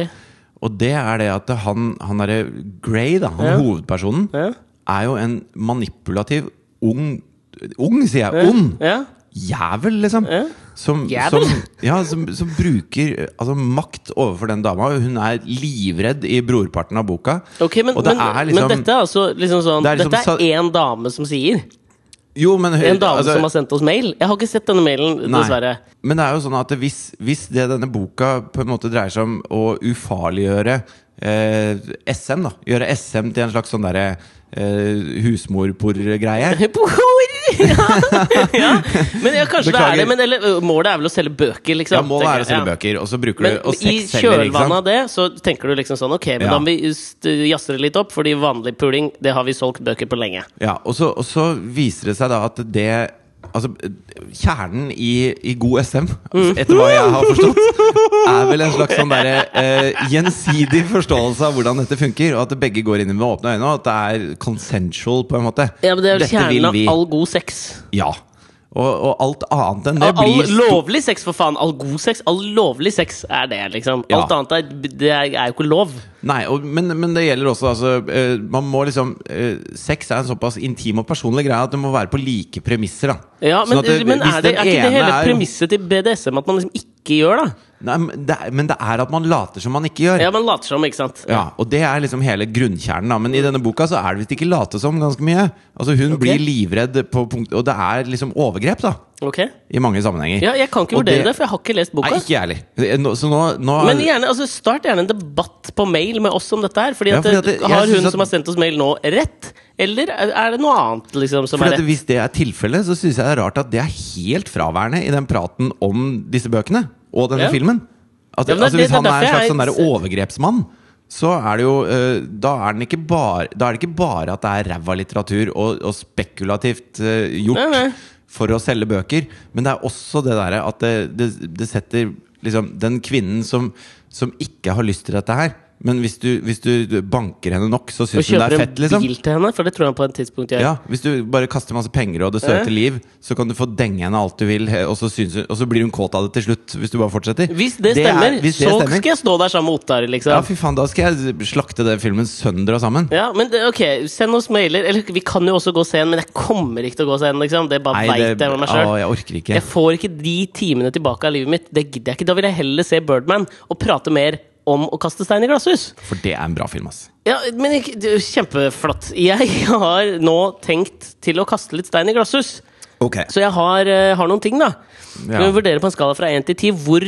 Speaker 2: Og det er det at han, han derre Grey, da, han
Speaker 3: Ja.
Speaker 2: hovedpersonen,
Speaker 3: Ja.
Speaker 2: er jo en manipulativ ung Ung, sier jeg! Ond!
Speaker 3: Ja.
Speaker 2: Jævel, liksom!
Speaker 3: Ja.
Speaker 2: Som,
Speaker 3: Jævel?
Speaker 2: Som, ja, som, som bruker eh, altså, makt overfor den dama. Hun er livredd i brorparten av boka.
Speaker 3: Ok, men,
Speaker 2: Og det
Speaker 3: men,
Speaker 2: er
Speaker 3: men
Speaker 2: liksom-
Speaker 3: dette er altså liksom sånn
Speaker 2: Det er liksom
Speaker 3: Dette
Speaker 2: sa-
Speaker 3: er én dame som sier.
Speaker 2: Jo, men,
Speaker 3: En dame
Speaker 2: altså,
Speaker 3: som har sendt oss mail. Jeg har ikke sett denne mailen,
Speaker 2: Nei.
Speaker 3: dessverre.
Speaker 2: Men det er jo sånn at hvis, hvis det denne boka på en måte dreier seg om å ufarliggjøre eh, SM, da Gjøre SM til en slags sånn derre eh, husmorporgreie
Speaker 3: Bor! Ja. ja. Men ja, kanskje
Speaker 2: Beklager.
Speaker 3: det er det. Men eller, ø, målet er vel å selge bøker, liksom.
Speaker 2: ja, Målet er
Speaker 3: tenker
Speaker 2: å selge
Speaker 3: jeg.
Speaker 2: bøker, og så bruker
Speaker 3: Men
Speaker 2: du Og
Speaker 3: i
Speaker 2: sex selger, ikke
Speaker 3: kjølvannet av
Speaker 2: sant?
Speaker 3: det så tenker du liksom sånn Ok, men
Speaker 2: Ja.
Speaker 3: da må vi st- jazze det litt opp, fordi vanlig puling, det har vi solgt bøker på lenge.
Speaker 2: Ja, og så, og så viser det seg da at det Altså, kjernen i, i god SM,
Speaker 3: Mm.
Speaker 2: altså, etter hva jeg har forstått, er vel en slags sånn derre eh, gjensidig forståelse av hvordan dette funker, og at begge går inn med åpne øyne, og at det er consensual, på en måte.
Speaker 3: Ja, men Det er vel
Speaker 2: Dette
Speaker 3: kjernen
Speaker 2: vil
Speaker 3: av
Speaker 2: vi.
Speaker 3: all god sex.
Speaker 2: Ja. Og, og alt annet enn det
Speaker 3: All,
Speaker 2: blir sto-
Speaker 3: lovlig sex, for faen! All god sex, all lovlig sex er det, liksom.
Speaker 2: Ja.
Speaker 3: Alt annet er, det er, er jo ikke lov.
Speaker 2: Nei, og, men, men det gjelder også altså, eh, Man må liksom eh, Sex er en såpass intim og personlig greie at det må være på like premisser. Da.
Speaker 3: Ja, men,
Speaker 2: Sånn at det-
Speaker 3: men
Speaker 2: hvis
Speaker 3: er, det,
Speaker 2: den
Speaker 3: er ikke det
Speaker 2: ene
Speaker 3: hele
Speaker 2: er-
Speaker 3: premisset til BDSM at man liksom ikke gjør det?
Speaker 2: Nei, men det, er- men det er at man later som man ikke gjør.
Speaker 3: Ja, man later som, ikke sant?
Speaker 2: Ja, og det er liksom hele grunnkjernen. Da. Men i denne boka så er det visst ikke late som ganske mye. Altså Hun blir livredd, på punkt, og det er liksom overgrep da
Speaker 3: Ok?
Speaker 2: i mange sammenhenger.
Speaker 3: Ja, jeg kan ikke
Speaker 2: Og
Speaker 3: vurdere det, for jeg har ikke lest boka.
Speaker 2: Nei, ikke jeg heller. Eh, Nå- Så nå, nå
Speaker 3: Men gjerne, altså, start gjerne en debatt på mail med oss om dette her. Fordi
Speaker 2: Ja,
Speaker 3: at,
Speaker 2: fordi at det- jeg
Speaker 3: Har
Speaker 2: synes
Speaker 3: hun
Speaker 2: at-
Speaker 3: som har sendt oss mail nå, rett? Eller er er det noe annet liksom, som
Speaker 2: fordi
Speaker 3: er
Speaker 2: at
Speaker 3: rett?
Speaker 2: Hvis det er tilfellet, så syns jeg det er rart at det er helt fraværende i den praten om disse bøkene og denne
Speaker 3: Ja.
Speaker 2: filmen. At,
Speaker 3: Ja, men det-
Speaker 2: altså,
Speaker 3: det-
Speaker 2: hvis han
Speaker 3: det
Speaker 2: er
Speaker 3: er
Speaker 2: en
Speaker 3: derfor
Speaker 2: slags
Speaker 3: jeg-
Speaker 2: sånn der overgrepsmann, så er det jo eh, Da er, den ikke bare, da er det ikke bare at det er ræva litteratur og, og spekulativt eh, gjort
Speaker 3: Nei, nei.
Speaker 2: for å selge bøker, men det er også det derre at det, det, det setter liksom den kvinnen som, som ikke har lyst til dette her men hvis du, hvis du banker henne nok, så
Speaker 3: Og
Speaker 2: syns hun det
Speaker 3: kjøper
Speaker 2: er
Speaker 3: en
Speaker 2: fett. liksom
Speaker 3: bil til henne, for det tror jeg på et tidspunkt gjør.
Speaker 2: ja, Hvis du bare kaster masse penger og det søte
Speaker 3: Ja.
Speaker 2: liv, så kan du få denge henne alt du vil, he- og så, syns hun, og så blir hun kåt av det til slutt. Hvis du bare fortsetter.
Speaker 3: Hvis det
Speaker 2: er-
Speaker 3: stemmer,
Speaker 2: hvis det
Speaker 3: så
Speaker 2: stemmer-
Speaker 3: skal jeg stå der sammen med Ottar, liksom.
Speaker 2: Ja, fy faen, da skal jeg slakte den filmen sønder og sammen.
Speaker 3: Ja, men det- ok, Send oss mailer. Eller vi kan jo også gå og se en, men jeg kommer ikke til å gå og se en. Liksom. Det bare
Speaker 2: Nei,
Speaker 3: veit
Speaker 2: det,
Speaker 3: jeg med meg sjøl.
Speaker 2: å, jeg orker ikke.
Speaker 3: Jeg får ikke de timene tilbake av livet mitt. Det gidder jeg ikke. Da vil jeg heller se Birdman og prate mer om å kaste stein i glasshus.
Speaker 2: For det er en bra film, ass.
Speaker 3: Ja, men ikke- det er jo Kjempeflott. Jeg har nå tenkt til å kaste litt stein i glasshus.
Speaker 2: Ok,
Speaker 3: Så jeg har, eh, har noen ting, da.
Speaker 2: Ja.
Speaker 3: Når vi vurderer på en skala fra 1 til 10, hvor,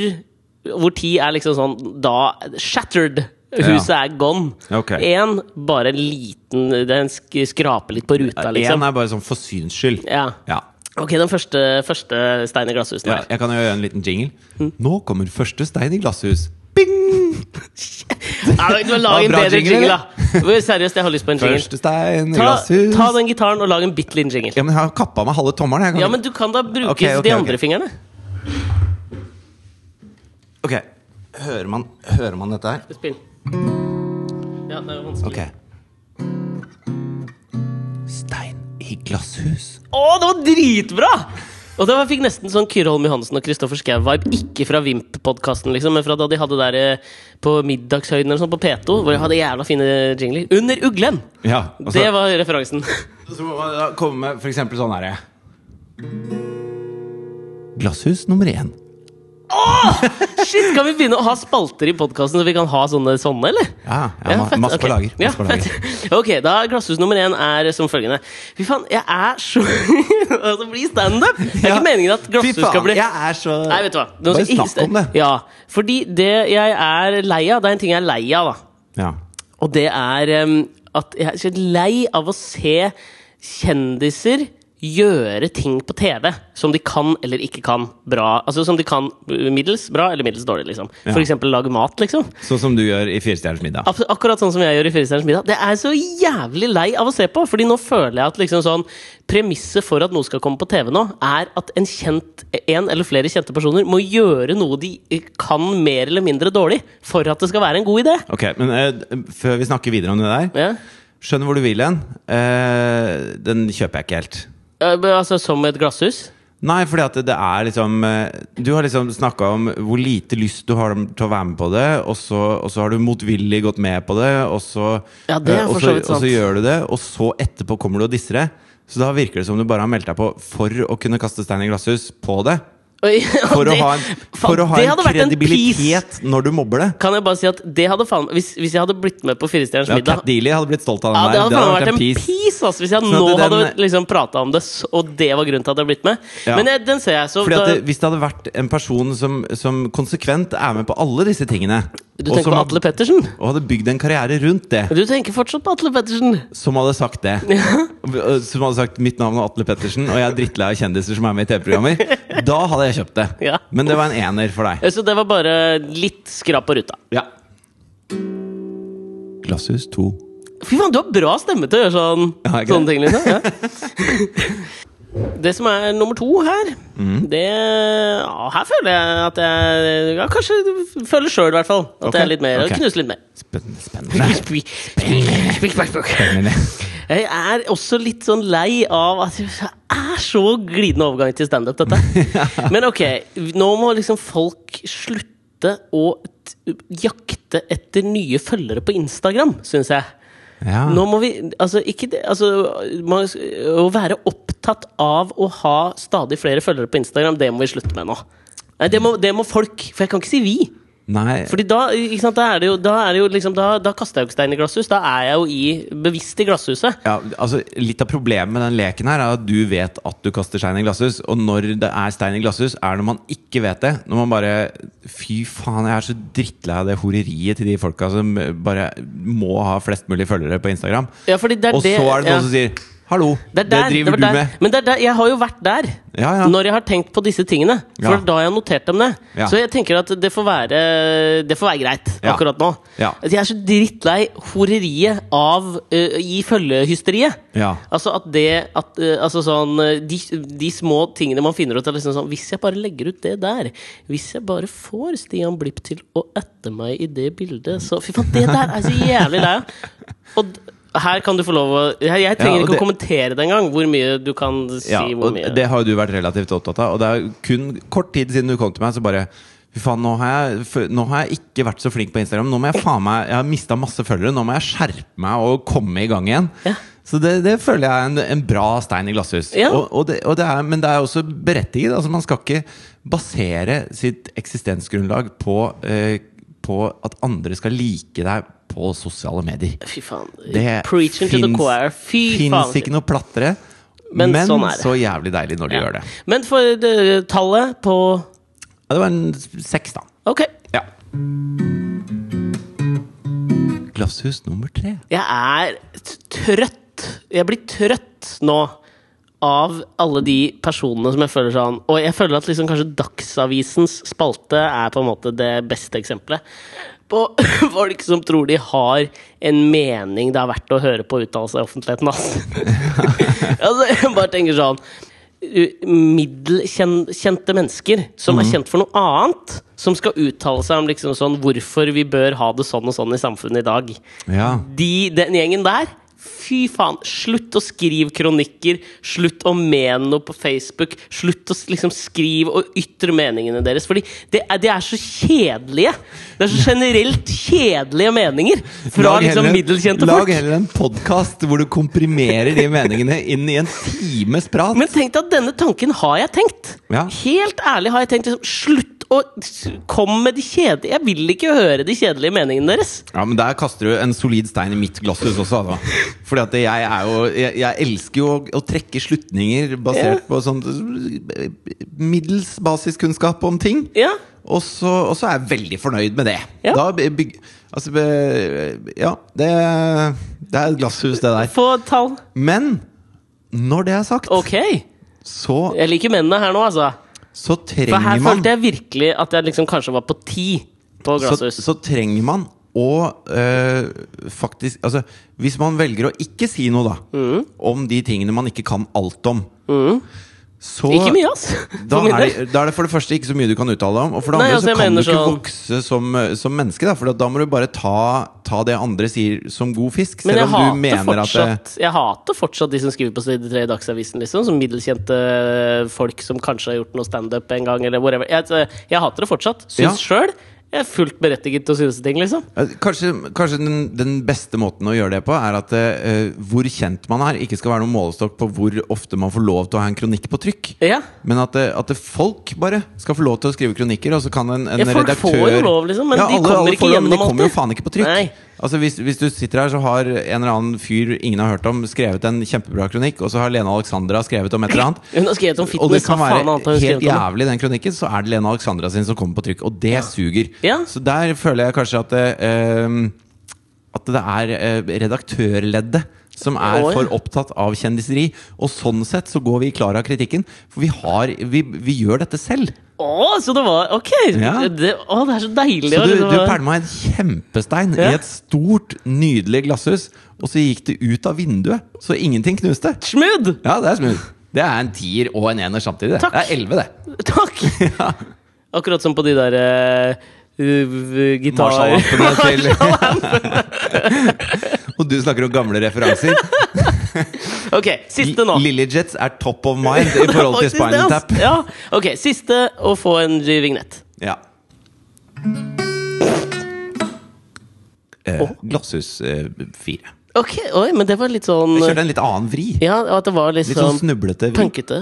Speaker 3: hvor 10 er liksom sånn da shattered. Huset er gone.
Speaker 2: Ok.
Speaker 3: Én, bare en liten Den sk skraper litt på ruta,
Speaker 2: Én
Speaker 3: liksom.
Speaker 2: er bare sånn for syns skyld.
Speaker 3: Ja.
Speaker 2: Ja.
Speaker 3: Ok, den første, første stein i glasshuset
Speaker 2: Ja,
Speaker 3: der.
Speaker 2: Jeg kan jo gjøre en liten jingle.
Speaker 3: Mm.
Speaker 2: Nå kommer første stein i glasshus. Bing!
Speaker 3: Ja, men Lag en
Speaker 2: Bra
Speaker 3: bedre
Speaker 2: jingle,
Speaker 3: jingle, da! Seriøst, jeg har lyst på en jingle.
Speaker 2: Første stein i
Speaker 3: Ta,
Speaker 2: glasshus.
Speaker 3: ta den gitaren og lag en bitte liten jingle.
Speaker 2: Ja, men jeg har kappa meg halve tommelen. jeg kan
Speaker 3: Ja,
Speaker 2: ikke-
Speaker 3: men du kan da bruke
Speaker 2: Ok, ok,
Speaker 3: de
Speaker 2: ok.
Speaker 3: andre fingrene.
Speaker 2: Ok, hører man, hører man dette her?
Speaker 3: Spill. Ja, det er jo vanskelig.
Speaker 2: Ok Stein i glasshus
Speaker 3: Å, det var dritbra! Og det var, fikk nesten sånn Kyrre Holm Johansen og Kristoffer Schou-vibe. Ikke fra Vimp-podkasten, liksom, men fra da de hadde der eh, på middagshøyden eller sånn på P2, hvor de hadde jævla fine jingler. Under uglen!
Speaker 2: Ja, altså- og så,
Speaker 3: Det var referansen.
Speaker 2: så må man da komme med for eksempel sånn her Glasshus nummer 1
Speaker 3: Shit, Skal vi begynne å ha spalter i podkasten, så vi kan ha sånne, sånne eller?
Speaker 2: Ja, ja, ma-
Speaker 3: fett.
Speaker 2: masse på
Speaker 3: Ok.
Speaker 2: lager, masse
Speaker 3: Ja,
Speaker 2: på lager.
Speaker 3: fett. Ok, da glasshus nummer én er som følgende. Fy faen, jeg er så Altså, bli standup! Det er
Speaker 2: Ja.
Speaker 3: ikke meningen at
Speaker 2: Fy
Speaker 3: glasshus skal
Speaker 2: faen,
Speaker 3: bli
Speaker 2: jeg er så
Speaker 3: Nei, vet du hva. Nå
Speaker 2: Bare
Speaker 3: skal jeg ikke-
Speaker 2: snakk om det.
Speaker 3: Ja, fordi det jeg er lei av, det er en ting jeg er lei av, da.
Speaker 2: Ja,
Speaker 3: Og det er em, at jeg er så lei av å se kjendiser gjøre ting på TV som de kan eller ikke kan bra. Altså som de kan middels bra eller middels dårlig, liksom. For
Speaker 2: Ja.
Speaker 3: eksempel lage mat, liksom.
Speaker 2: Sånn som du gjør i Firestjerners middag.
Speaker 3: Abs- Akkurat sånn som jeg gjør i Firestjerners middag. Det er jeg så jævlig lei av å se på! Fordi nå føler jeg at liksom sånn premisset for at noe skal komme på TV nå, er at en, kjent, en eller flere kjente personer må gjøre noe de eh, kan mer eller mindre dårlig, for at det skal være en god idé.
Speaker 2: Ok, men eh, Før vi snakker videre om det der
Speaker 3: Ja.
Speaker 2: Skjønner hvor du vil hen. Eh, den kjøper jeg ikke helt.
Speaker 3: Eh, men Altså som et glasshus.
Speaker 2: Nei, fordi at det- det er liksom eh, Du har liksom snakka om hvor lite lyst du har til å være med på det, og så, og så har du motvillig gått med på det, og så,
Speaker 3: Ja, det er
Speaker 2: eh, og
Speaker 3: for
Speaker 2: så,
Speaker 3: så vidt sant.
Speaker 2: og så gjør du det, og så etterpå kommer du og disser det. Så da virker det som du bare har meldt deg på for å kunne kaste stein i glasshus på det.
Speaker 3: Oi,
Speaker 2: For
Speaker 3: det-
Speaker 2: å ha en, for
Speaker 3: faen,
Speaker 2: å ha
Speaker 3: det
Speaker 2: en
Speaker 3: hadde vært en piece.
Speaker 2: kredibilitet når du mobber det.
Speaker 3: Kan jeg bare si at det hadde faen Hvis, hvis jeg hadde blitt med på Firestjerners
Speaker 2: Ja,
Speaker 3: middag
Speaker 2: Cat Dealey hadde blitt stolt av den
Speaker 3: Ja, det
Speaker 2: der.
Speaker 3: hadde faen vært en altså. piece, ass, hvis jeg
Speaker 2: Sånn at
Speaker 3: nå
Speaker 2: den-
Speaker 3: hadde liksom prata om det, s- og det var grunnen til at jeg hadde blitt med.
Speaker 2: Ja.
Speaker 3: Men jeg, den ser jeg, så
Speaker 2: Fordi
Speaker 3: da,
Speaker 2: at det, Hvis det hadde vært en person som, som konsekvent er med på alle disse tingene
Speaker 3: Du
Speaker 2: og,
Speaker 3: tenker
Speaker 2: som,
Speaker 3: på
Speaker 2: hadde-
Speaker 3: Atle Pettersen?
Speaker 2: og hadde bygd en karriere rundt det,
Speaker 3: Du tenker fortsatt på Atle Pettersen.
Speaker 2: som hadde sagt det Som hadde sagt 'mitt navn er Atle Pettersen', og jeg er drittlei av kjendiser som er med i TV-programmer, da hadde jeg kjøpt det.
Speaker 3: Ja.
Speaker 2: Men det var en ener for deg.
Speaker 3: Eh, Så det var bare litt skrap på ruta.
Speaker 2: Ja. Glasshus 2.
Speaker 3: Fy faen, du har bra stemme til å gjøre sånn,
Speaker 2: Ja, ikke
Speaker 3: sånne
Speaker 2: det?
Speaker 3: ting. Liksom. Ja. Det som er nummer to her
Speaker 2: Mhm.
Speaker 3: Det ja, Her føler jeg at jeg ja, Kanskje du føler sjøl, i hvert fall. At
Speaker 2: Ok,
Speaker 3: jeg er litt mer,
Speaker 2: ok.
Speaker 3: knuser litt mer.
Speaker 2: Spennende. spennende. spennende.
Speaker 3: Jeg er også litt sånn lei av at det er så glidende overgang til standup, dette. Men ok, nå må liksom folk slutte å t jakte etter nye følgere på Instagram, syns jeg.
Speaker 2: Ja.
Speaker 3: Nå må vi Altså, ikke det altså, man, Å være opptatt av å ha stadig flere følgere på Instagram, det må vi slutte med nå. Nei, det må, det må folk. For jeg kan ikke si vi.
Speaker 2: Nei.
Speaker 3: Fordi da, ikke sant, da er det jo, da er det jo liksom, da, da kaster jeg jo ikke stein i glasshus. Da er jeg jo i, bevisst i glasshuset.
Speaker 2: Ja, altså Litt av problemet med den leken her er at du vet at du kaster stein i glasshus. Og når det er stein i glasshus, er når man ikke vet det. Når man bare Fy faen, jeg er så drittlei av det horeriet til de folka som bare må ha flest mulig følgere på Instagram.
Speaker 3: Ja, fordi det er
Speaker 2: og så
Speaker 3: det,
Speaker 2: er det noen
Speaker 3: ja.
Speaker 2: som sier Hallo,
Speaker 3: Det,
Speaker 2: det,
Speaker 3: er der,
Speaker 2: driver
Speaker 3: det
Speaker 2: du
Speaker 3: var der.
Speaker 2: med.
Speaker 3: Men det er der, jeg har jo vært der
Speaker 2: Ja, ja.
Speaker 3: når jeg har tenkt på disse tingene. For
Speaker 2: Ja.
Speaker 3: det er da jeg har notert dem ned.
Speaker 2: Ja.
Speaker 3: Så jeg tenker at det får være, det får være greit
Speaker 2: Ja.
Speaker 3: akkurat nå.
Speaker 2: Ja.
Speaker 3: At Jeg er så drittlei horeriet av eh, i følgehysteriet.
Speaker 2: Ja.
Speaker 3: Altså at det at, eh, altså sånn, eh, de, de små tingene man finner ut av liksom sånn, Hvis jeg bare legger ut det der Hvis jeg bare får Stian Blipp til å ette meg i det bildet Så fy faen, det der er så jævlig lei av. Og d- her kan du få lov å Jeg, jeg trenger
Speaker 2: Ja, og
Speaker 3: ikke
Speaker 2: det-
Speaker 3: å kommentere det engang Hvor mye du kan si
Speaker 2: Ja,
Speaker 3: hvor
Speaker 2: og
Speaker 3: mye
Speaker 2: det har jo du vært relativt opptatt av. Og det er kun kort tid siden du kom til meg, så bare Fy faen, nå har, jeg, f- nå har jeg ikke vært så flink på Instagram. Nå må jeg faen meg Jeg har mista masse følgere. Nå må jeg skjerpe meg og komme i gang igjen.
Speaker 3: Ja.
Speaker 2: Så det, det føler jeg er en, en bra stein i glasshus.
Speaker 3: Ja.
Speaker 2: Og, og det, og det er, men det er også berettiget. Altså, man skal ikke basere sitt eksistensgrunnlag på, eh, på at andre skal like deg på sosiale medier.
Speaker 3: Fy faen,
Speaker 2: Det
Speaker 3: preaching to the
Speaker 2: finnes-
Speaker 3: choir Fy faen
Speaker 2: Fins ikke noe plattere,
Speaker 3: Men
Speaker 2: men,
Speaker 3: sånn er det.
Speaker 2: så jævlig deilig når du
Speaker 3: Ja.
Speaker 2: gjør det.
Speaker 3: Men for eh, tallet på
Speaker 2: Ja, det var en seks, da.
Speaker 3: Ok,
Speaker 2: Ja. Glasshus nummer tre.
Speaker 3: jeg er t- trøtt Jeg blir trøtt nå av alle de personene som jeg føler sånn Og jeg føler at liksom kanskje Dagsavisens spalte er på en måte det beste eksempelet. På folk som tror de har en mening det er verdt å høre på uttalelse i offentligheten. Altså. altså, jeg bare tenker sånn u- Middelkjente mennesker som er kjent for noe annet, som skal uttale seg om liksom sånn hvorfor vi bør ha det sånn og sånn i samfunnet i dag
Speaker 2: Ja.
Speaker 3: de, den gjengen der Fy faen, slutt å skrive kronikker, slutt å mene noe på Facebook, slutt å s- liksom skrive og ytre meningene deres, fordi det er, det er så kjedelige. Det er så generelt kjedelige meninger fra
Speaker 2: Lag
Speaker 3: liksom
Speaker 2: heller-
Speaker 3: middelkjente
Speaker 2: Lag
Speaker 3: folk.
Speaker 2: heller en podkast hvor du komprimerer de meningene inn i en times prat.
Speaker 3: Men tenk deg at denne tanken har jeg tenkt.
Speaker 2: Ja.
Speaker 3: Helt ærlig har jeg tenkt liksom, slutt å s- komme med de kjedelige Jeg vil ikke høre de kjedelige meningene deres.
Speaker 2: ja, men Der kaster du en solid stein i mitt glasshus også. Da. Fordi at jeg, er jo, jeg, jeg elsker jo å, å trekke slutninger basert på sånn eh, middels basiskunnskap om ting.
Speaker 3: Ja.
Speaker 2: Og så, og så er jeg veldig fornøyd med det.
Speaker 3: Ja.
Speaker 2: Da byg, altså, be- ja, det, det er et glasshus, det der.
Speaker 3: Få tall.
Speaker 2: Men Når det er sagt,
Speaker 3: Ok!
Speaker 2: så,
Speaker 3: Jeg liker mennene her nå, altså.
Speaker 2: så
Speaker 3: For her
Speaker 2: trenger man
Speaker 3: følte jeg virkelig at jeg liksom kanskje var på ti
Speaker 2: så,
Speaker 3: på glasshus.
Speaker 2: så trenger man å eh, faktisk Altså, hvis man velger å ikke si noe, da,
Speaker 3: Mm.
Speaker 2: om de tingene man ikke kan alt om, så
Speaker 3: Ikke mye, ass!
Speaker 2: Da
Speaker 3: for min
Speaker 2: er,
Speaker 3: del.
Speaker 2: det, da er det for det første ikke så mye du kan uttale deg om. Og for det
Speaker 3: Nei,
Speaker 2: andre
Speaker 3: altså, jeg
Speaker 2: så kan du
Speaker 3: mener
Speaker 2: ikke
Speaker 3: sånn-
Speaker 2: vokse som, som menneske. Da, for da må du bare ta, ta det andre sier som god fisk.
Speaker 3: Men
Speaker 2: Selv
Speaker 3: jeg
Speaker 2: om du
Speaker 3: hater,
Speaker 2: mener at eh, det,
Speaker 3: fortsatt, jeg hater fortsatt de som skriver på side 3 i Dagsavisen, liksom. Som middelkjente folk som kanskje har gjort noe standup en gang, eller whatever. Jeg, altså, jeg hater det fortsatt.
Speaker 2: Ja.
Speaker 3: Syns sjøl jeg er fullt berettiget til å synes ting, liksom.
Speaker 2: Eh, Kanskje, kanskje den, den beste måten å gjøre det på, er at eh, hvor kjent man er, ikke skal være noen målestokk på hvor ofte man får lov til å ha en kronikk på trykk.
Speaker 3: Ja.
Speaker 2: Men at, eh, at det folk bare skal få lov til å skrive kronikker, og så kan en, en
Speaker 3: Ja, folk
Speaker 2: redaktør
Speaker 3: får jo lov, liksom, men de
Speaker 2: alle-
Speaker 3: kommer
Speaker 2: alle
Speaker 3: ikke
Speaker 2: får lov, men
Speaker 3: gjennom
Speaker 2: De kommer jo
Speaker 3: alltid.
Speaker 2: faen ikke på trykk.
Speaker 3: Nei.
Speaker 2: Altså hvis, hvis du sitter her, så har en eller annen fyr ingen har hørt om, skrevet en kjempebra kronikk, og så har Lene Alexandra skrevet om et eller annet.
Speaker 3: Hun har skrevet om
Speaker 2: Og det
Speaker 3: fitness,
Speaker 2: kan
Speaker 3: hva faen
Speaker 2: være
Speaker 3: annet har hun
Speaker 2: helt
Speaker 3: skrevet om?
Speaker 2: jævlig, den kronikken, så er det Lene Alexandra sin som kommer på trykk, og det suger.
Speaker 3: Ja.
Speaker 2: Så der føler jeg kanskje at det, ehm, at det er eh, redaktørleddet som er
Speaker 3: Å, ja.
Speaker 2: for opptatt av kjendiseri. Og sånn sett så går vi klar av kritikken, for vi, har, vi, vi gjør dette selv.
Speaker 3: Å, så det var Ok!
Speaker 2: Ja.
Speaker 3: Det, å, det er så deilig.
Speaker 2: Så
Speaker 3: å
Speaker 2: du,
Speaker 3: liksom-
Speaker 2: du pælma en kjempestein
Speaker 3: Ja.
Speaker 2: i et stort, nydelig glasshus, og så gikk det ut av vinduet, så ingenting knuste.
Speaker 3: Smooth!
Speaker 2: Ja, det er smooth. Det er en tier og en ener samtidig. det.
Speaker 3: Takk.
Speaker 2: Det er elleve, det.
Speaker 3: Takk! Akkurat som på de der uh, gitar...
Speaker 2: Marshall-ampene til Og du snakker om gamle referanser.
Speaker 3: Ok, siste nå.
Speaker 2: Lillyjets er top of mind i forhold til
Speaker 3: Faktisk det,
Speaker 2: Spinal
Speaker 3: ass.
Speaker 2: Tap.
Speaker 3: Ja. Ok, siste å få en vignett.
Speaker 2: Ja. Eh, glasshus eh, fire.
Speaker 3: Ok, oi, men det var litt sånn
Speaker 2: Jeg kjørte en litt annen vri.
Speaker 3: Ja, og at det var
Speaker 2: Litt sånn
Speaker 3: liksom
Speaker 2: snublete vri.
Speaker 3: punkete.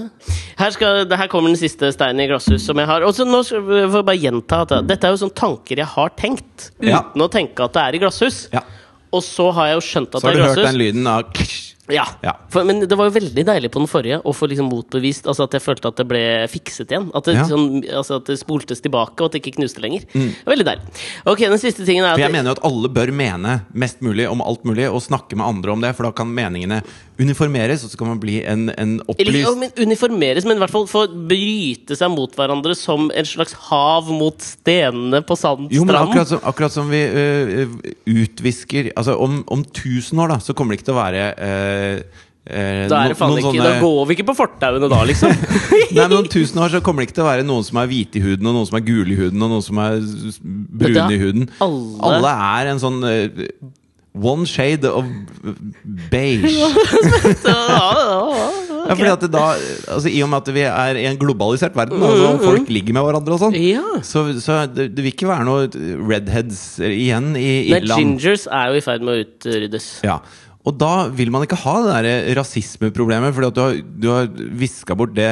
Speaker 3: Her, skal, det her kommer den siste steinen i glasshus som jeg har. Og så nå skal vi får jeg bare gjenta at Dette er jo sånne tanker jeg har tenkt, uten
Speaker 2: Ja.
Speaker 3: å tenke at det er i glasshus.
Speaker 2: Ja.
Speaker 3: Og så har jeg jo skjønt at
Speaker 2: Så har du
Speaker 3: det er
Speaker 2: hørt
Speaker 3: glasshus.
Speaker 2: den lyden av klisj.
Speaker 3: Ja,
Speaker 2: Ja.
Speaker 3: For, men det var jo veldig deilig på den forrige å få liksom motbevist altså at jeg følte at det ble fikset igjen. At det,
Speaker 2: Ja. Mm.
Speaker 3: sånn, altså at det spoltes tilbake, og at det ikke knuste lenger. Det var Veldig deilig. Ok, den siste tingen er
Speaker 2: For jeg
Speaker 3: at
Speaker 2: mener jo at alle bør mene mest mulig om alt mulig, og snakke med andre om det, for da kan meningene uniformeres, og så kan man bli en, en
Speaker 3: eller, ja,
Speaker 2: opplyst
Speaker 3: men uniformeres, men i hvert fall få bryte seg mot hverandre som en slags hav mot stenene på sand,
Speaker 2: Jo, men akkurat
Speaker 3: stranden.
Speaker 2: som, akkurat som vi øh, øh, utvisker Altså, om, om tusen år, da, så kommer det ikke til å være øh, øh,
Speaker 3: Da, er
Speaker 2: no-
Speaker 3: det faen
Speaker 2: noen
Speaker 3: ikke,
Speaker 2: sånne-
Speaker 3: da går vi ikke på fortauene da, liksom.
Speaker 2: Nei, men Om tusen år så kommer det ikke til å være noen som er hvite i huden, og noen som er gule i huden, og noen som er s- brune
Speaker 3: da-
Speaker 2: i huden.
Speaker 3: alle-
Speaker 2: er en sånn øh, One shade of beige.
Speaker 3: Så, ja, ja, ja.
Speaker 2: Ja, fordi at det da, altså, I og med at vi er i en globalisert verden, altså, og folk ligger med hverandre og sånn,
Speaker 3: Mm, Ja.
Speaker 2: så, så det, det vil ikke være noe redheads igjen i
Speaker 3: Nei,
Speaker 2: Irland.
Speaker 3: gingers er jo i ferd med å utryddes.
Speaker 2: Ja. Og da vil man ikke ha det der eh, rasismeproblemet, fordi at du har, du har viska bort det,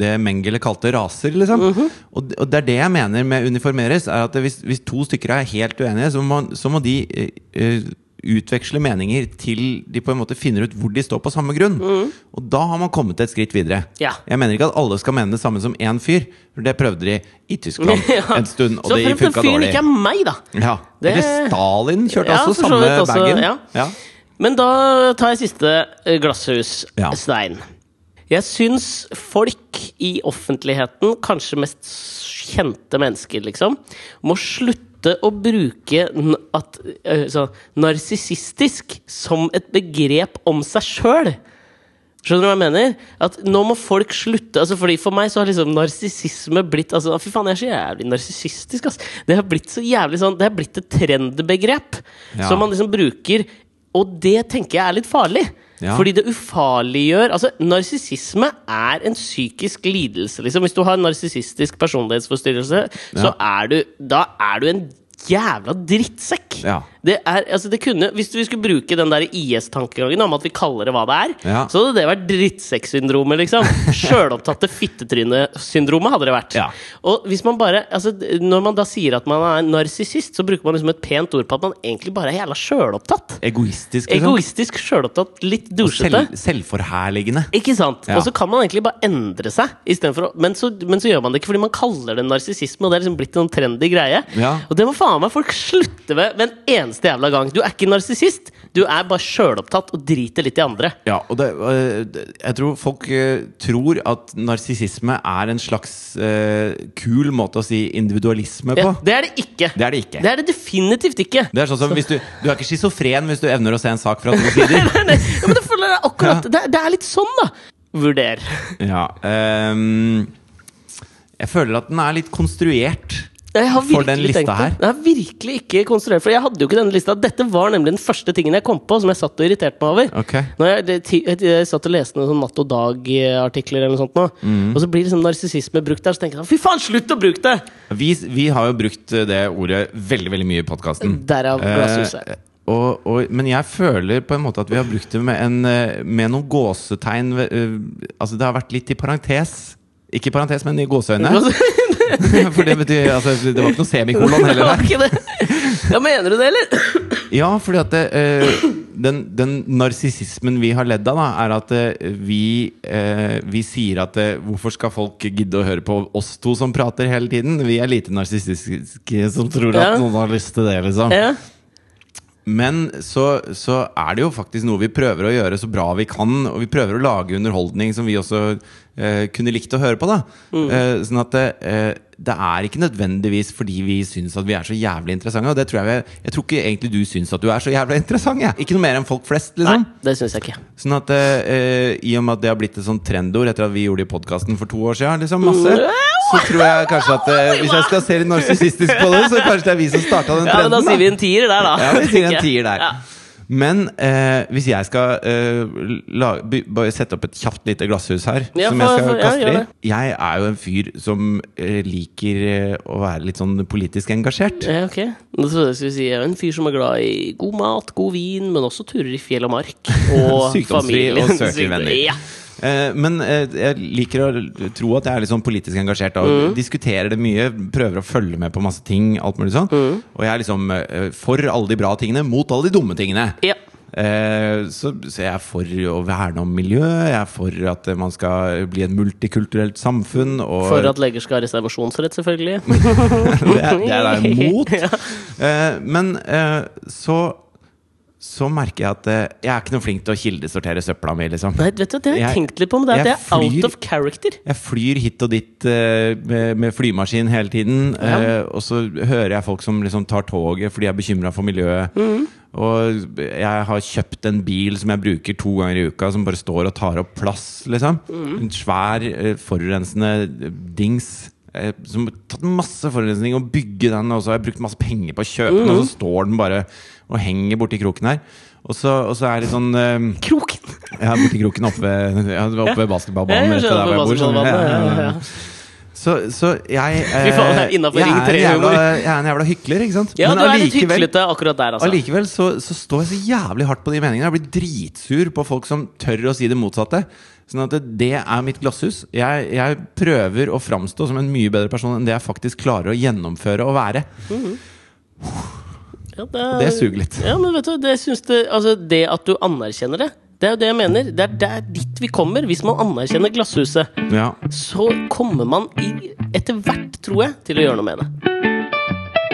Speaker 2: det Mengele kalte raser, liksom.
Speaker 3: Mhm.
Speaker 2: og, det- og det er det jeg mener med uniformeres, er at hvis, hvis to stykker er helt uenige, så må, så må de eh, eh, utveksle meninger til de på en måte finner ut hvor de står på samme grunn. Og da har man kommet et skritt videre.
Speaker 3: Mhm. Ja.
Speaker 2: Jeg mener ikke at alle skal mene det samme som én fyr, for det prøvde de i Tyskland
Speaker 3: Ja.
Speaker 2: en stund, og
Speaker 3: Så
Speaker 2: det
Speaker 3: fremt den
Speaker 2: funka
Speaker 3: fyren
Speaker 2: dårlig.
Speaker 3: ikke er meg, da.
Speaker 2: Ja.
Speaker 3: Det-
Speaker 2: Eller Stalin kjørte
Speaker 3: Ja,
Speaker 2: også
Speaker 3: for så
Speaker 2: samme
Speaker 3: vidt også,
Speaker 2: bagen.
Speaker 3: ja.
Speaker 2: Ja.
Speaker 3: Men da tar jeg siste eh, glasshus,
Speaker 2: Ja.
Speaker 3: Stein. Jeg syns folk i offentligheten, kanskje mest kjente mennesker, liksom, må slutte å bruke n at, eh, så, narsissistisk som et begrep om seg sjøl. Skjønner du hva jeg mener? At nå må folk slutte altså fordi For meg så har liksom narsissisme blitt altså, Fy faen, jeg er så jævlig narsissistisk, ass. Det har blitt så jævlig sånn Det har blitt et trendbegrep
Speaker 2: Ja.
Speaker 3: som man liksom bruker. Og det tenker jeg er litt farlig.
Speaker 2: Ja.
Speaker 3: Fordi det ufarliggjør Altså, narsissisme er en psykisk lidelse, liksom. Hvis du har en narsissistisk personlighetsforstyrrelse, så er du Da er du en jævla drittsekk.
Speaker 2: Ja.
Speaker 3: Det er, altså det kunne, hvis vi skulle bruke den der IS-tankegangen om at vi kaller det hva det er,
Speaker 2: Ja.
Speaker 3: så hadde det vært drittsekksyndromet, liksom. Sjølopptatte fittetrynesyndromet hadde det vært.
Speaker 2: Ja.
Speaker 3: Og hvis man bare, altså, d- når man da sier at man er narsissist, så bruker man liksom et pent ord på at man egentlig bare er jævla sjølopptatt.
Speaker 2: Egoistisk, liksom.
Speaker 3: Egoistisk, sjølopptatt, litt
Speaker 2: Og
Speaker 3: douchete.
Speaker 2: selv, selvforherligende.
Speaker 3: Ikke sant?
Speaker 2: Ja.
Speaker 3: Og så kan man egentlig bare endre seg, i stedet for å, men, så, men så gjør man det ikke fordi man kaller det narsissisme, og det er liksom blitt en sånn trendy greie.
Speaker 2: Ja.
Speaker 3: Og det må faen meg folk slutte med ved en eneste jævla gang. Du er ikke narsissist. Du er bare sjølopptatt og driter litt i andre.
Speaker 2: Ja, og det, øh, det- jeg tror folk øh, tror at narsissisme er en slags øh, kul måte å si individualisme på.
Speaker 3: Ja, det er det ikke.
Speaker 2: Det er det ikke.
Speaker 3: Det er det definitivt ikke.
Speaker 2: Det er sånn som hvis Du du er ikke schizofren hvis du evner å se en sak fra to sider.
Speaker 3: Nei, nei, ja, men jeg føler det er akkurat det, er- det er litt sånn, da. Vurder.
Speaker 2: Ja, øhm, jeg føler at den er litt konstruert.
Speaker 3: Jeg har
Speaker 2: For den
Speaker 3: virkelig
Speaker 2: lista
Speaker 3: tenkt det.
Speaker 2: her?
Speaker 3: Jeg har virkelig ikke konstruert For jeg hadde jo ikke denne lista. Dette var nemlig den første tingen jeg kom på som jeg satt og irriterte meg over.
Speaker 2: Ok.
Speaker 3: Når jeg, det, ti- jeg, jeg satt og leste noen sånn Natt og Dag-artikler, eller noe sånt nå,
Speaker 2: Mm.
Speaker 3: og så blir liksom narsissisme brukt der, så tenker jeg sånn, fy faen, slutt å bruke det!
Speaker 2: Vi, vi har jo brukt eh, det ordet veldig veldig mye i podkasten.
Speaker 3: Derav
Speaker 2: Eh,
Speaker 3: glasshuset.
Speaker 2: og, og, men jeg føler på en måte at vi har brukt det med, en, eh, med noen gåsetegn ved- eh, Altså det har vært litt i parentes. Ikke i parentes, men i gåseøyne. For det betyr altså, Det var ikke noe semikolon
Speaker 3: Det
Speaker 2: heller
Speaker 3: var
Speaker 2: der.
Speaker 3: ikke det. Ja, mener du det, eller?
Speaker 2: Ja, fordi at det, eh, den, den narsissismen vi har ledd av, da, er at eh, vi, eh, vi sier at eh, hvorfor skal folk gidde å høre på oss to som prater hele tiden? Vi er lite narsissistiske som tror at
Speaker 3: Ja.
Speaker 2: noen har lyst til det, liksom.
Speaker 3: Ja.
Speaker 2: Men så, så er det jo faktisk noe vi prøver å gjøre så bra vi kan, og vi prøver å lage underholdning som vi også eh, kunne likt å høre på. da
Speaker 3: Mm.
Speaker 2: eh, Sånn at det, eh, det er ikke nødvendigvis fordi vi syns at vi er så jævlig interessante. Og det tror jeg, vi- jeg tror ikke egentlig du syns at du er så jævlig interessant. Jeg. Ikke noe mer enn folk flest,
Speaker 3: Nei,
Speaker 2: liksom.
Speaker 3: det syns jeg ikke.
Speaker 2: Sånn at eh, I og med at det har blitt et sånt trendord etter at vi gjorde det i podkasten for to år siden, liksom, masse, så tror jeg kanskje at eh, hvis jeg skal se litt narsissistisk på det, så kanskje det er vi som starta den
Speaker 3: Ja, men
Speaker 2: trenden.
Speaker 3: Da sier
Speaker 2: da.
Speaker 3: vi en tier der, da.
Speaker 2: Ja, vi sier en
Speaker 3: Ikke?
Speaker 2: tier der.
Speaker 3: Ja.
Speaker 2: Men eh, hvis jeg skal eh, la, by, bare sette opp et kjapt lite glasshus her,
Speaker 3: Ja,
Speaker 2: som
Speaker 3: få-
Speaker 2: jeg skal
Speaker 3: få- ja,
Speaker 2: kaste
Speaker 3: gjør
Speaker 2: i
Speaker 3: det.
Speaker 2: Jeg er jo en fyr som eh, liker eh, å være litt sånn politisk engasjert.
Speaker 3: Ja, ok. Nå trodde jeg skulle si jeg er en fyr som er glad i god mat, god vin, men også turer i fjell og mark. Og
Speaker 2: Sykdomsfri og
Speaker 3: familien.
Speaker 2: søker venner.
Speaker 3: Ja.
Speaker 2: Eh, men eh, jeg liker å tro at jeg er litt sånn politisk engasjert og
Speaker 3: Mm.
Speaker 2: diskuterer det mye. Prøver å følge med på masse ting. Alt mulig sånn.
Speaker 3: Mm.
Speaker 2: Og jeg er liksom eh, for alle de bra tingene, mot alle de dumme tingene.
Speaker 3: ja.
Speaker 2: Eh, så, så jeg er for å verne om miljøet. Jeg er for at eh, man skal bli et multikulturelt samfunn. Og
Speaker 3: For at leger skal ha reservasjonsrett, selvfølgelig.
Speaker 2: det er det er jeg imot.
Speaker 3: Ja.
Speaker 2: Eh, men eh, så så merker jeg at eh, jeg er ikke noe flink til å kildesortere søpla mi. Liksom.
Speaker 3: Nei, vet du, Det har jeg
Speaker 2: Jeg-
Speaker 3: tenkt litt på, men det er at
Speaker 2: jeg
Speaker 3: jeg er out
Speaker 2: flyr-
Speaker 3: of character.
Speaker 2: Jeg flyr hit og dit eh, med, med flymaskin hele tiden.
Speaker 3: Ja.
Speaker 2: eh, og så hører jeg folk som liksom tar toget fordi jeg er bekymra for miljøet. Og jeg har kjøpt en bil som jeg bruker to ganger i uka, som bare står og tar opp plass. Liksom. En svær, eh, forurensende dings. eh, Som har tatt masse forurensning å bygge den, og så har jeg brukt masse penger på å kjøpe den, og så står den bare og henger borti kroken her. Og så, og så er det sånn eh,
Speaker 3: Kroken!
Speaker 2: ja, borti kroken oppe ved, ja, det var oppe ved basketballbanen.
Speaker 3: Ja, jeg
Speaker 2: rett ved der hvor jeg
Speaker 3: skjønner
Speaker 2: bor, sånn. Ja,
Speaker 3: basketballbanen,
Speaker 2: ja,
Speaker 3: ja, ja,
Speaker 2: ja. Så, så jeg eh,
Speaker 3: Fy faen, det er innenfor
Speaker 2: jeg,
Speaker 3: Ring
Speaker 2: er en
Speaker 3: 3-humor.
Speaker 2: jævla, jeg er en jævla hykler, ikke sant?
Speaker 3: Ja, du er litt
Speaker 2: allikevel-
Speaker 3: hyklete akkurat der, altså.
Speaker 2: Allikevel så, så står jeg så jævlig hardt på de meningene. Jeg blir dritsur på folk som tør å si det motsatte. Sånn at det, det er mitt glasshus. Jeg, jeg prøver å framstå som en mye bedre person enn det jeg faktisk klarer å gjennomføre og være.
Speaker 3: Ja,
Speaker 2: Og det suger litt.
Speaker 3: Ja, men vet du, det, syns det, altså, det at du anerkjenner det, det er jo det jeg mener. Det er der dit vi kommer, hvis man anerkjenner Glasshuset.
Speaker 2: Ja.
Speaker 3: Så kommer man i, etter hvert, tror jeg, til å gjøre noe med det.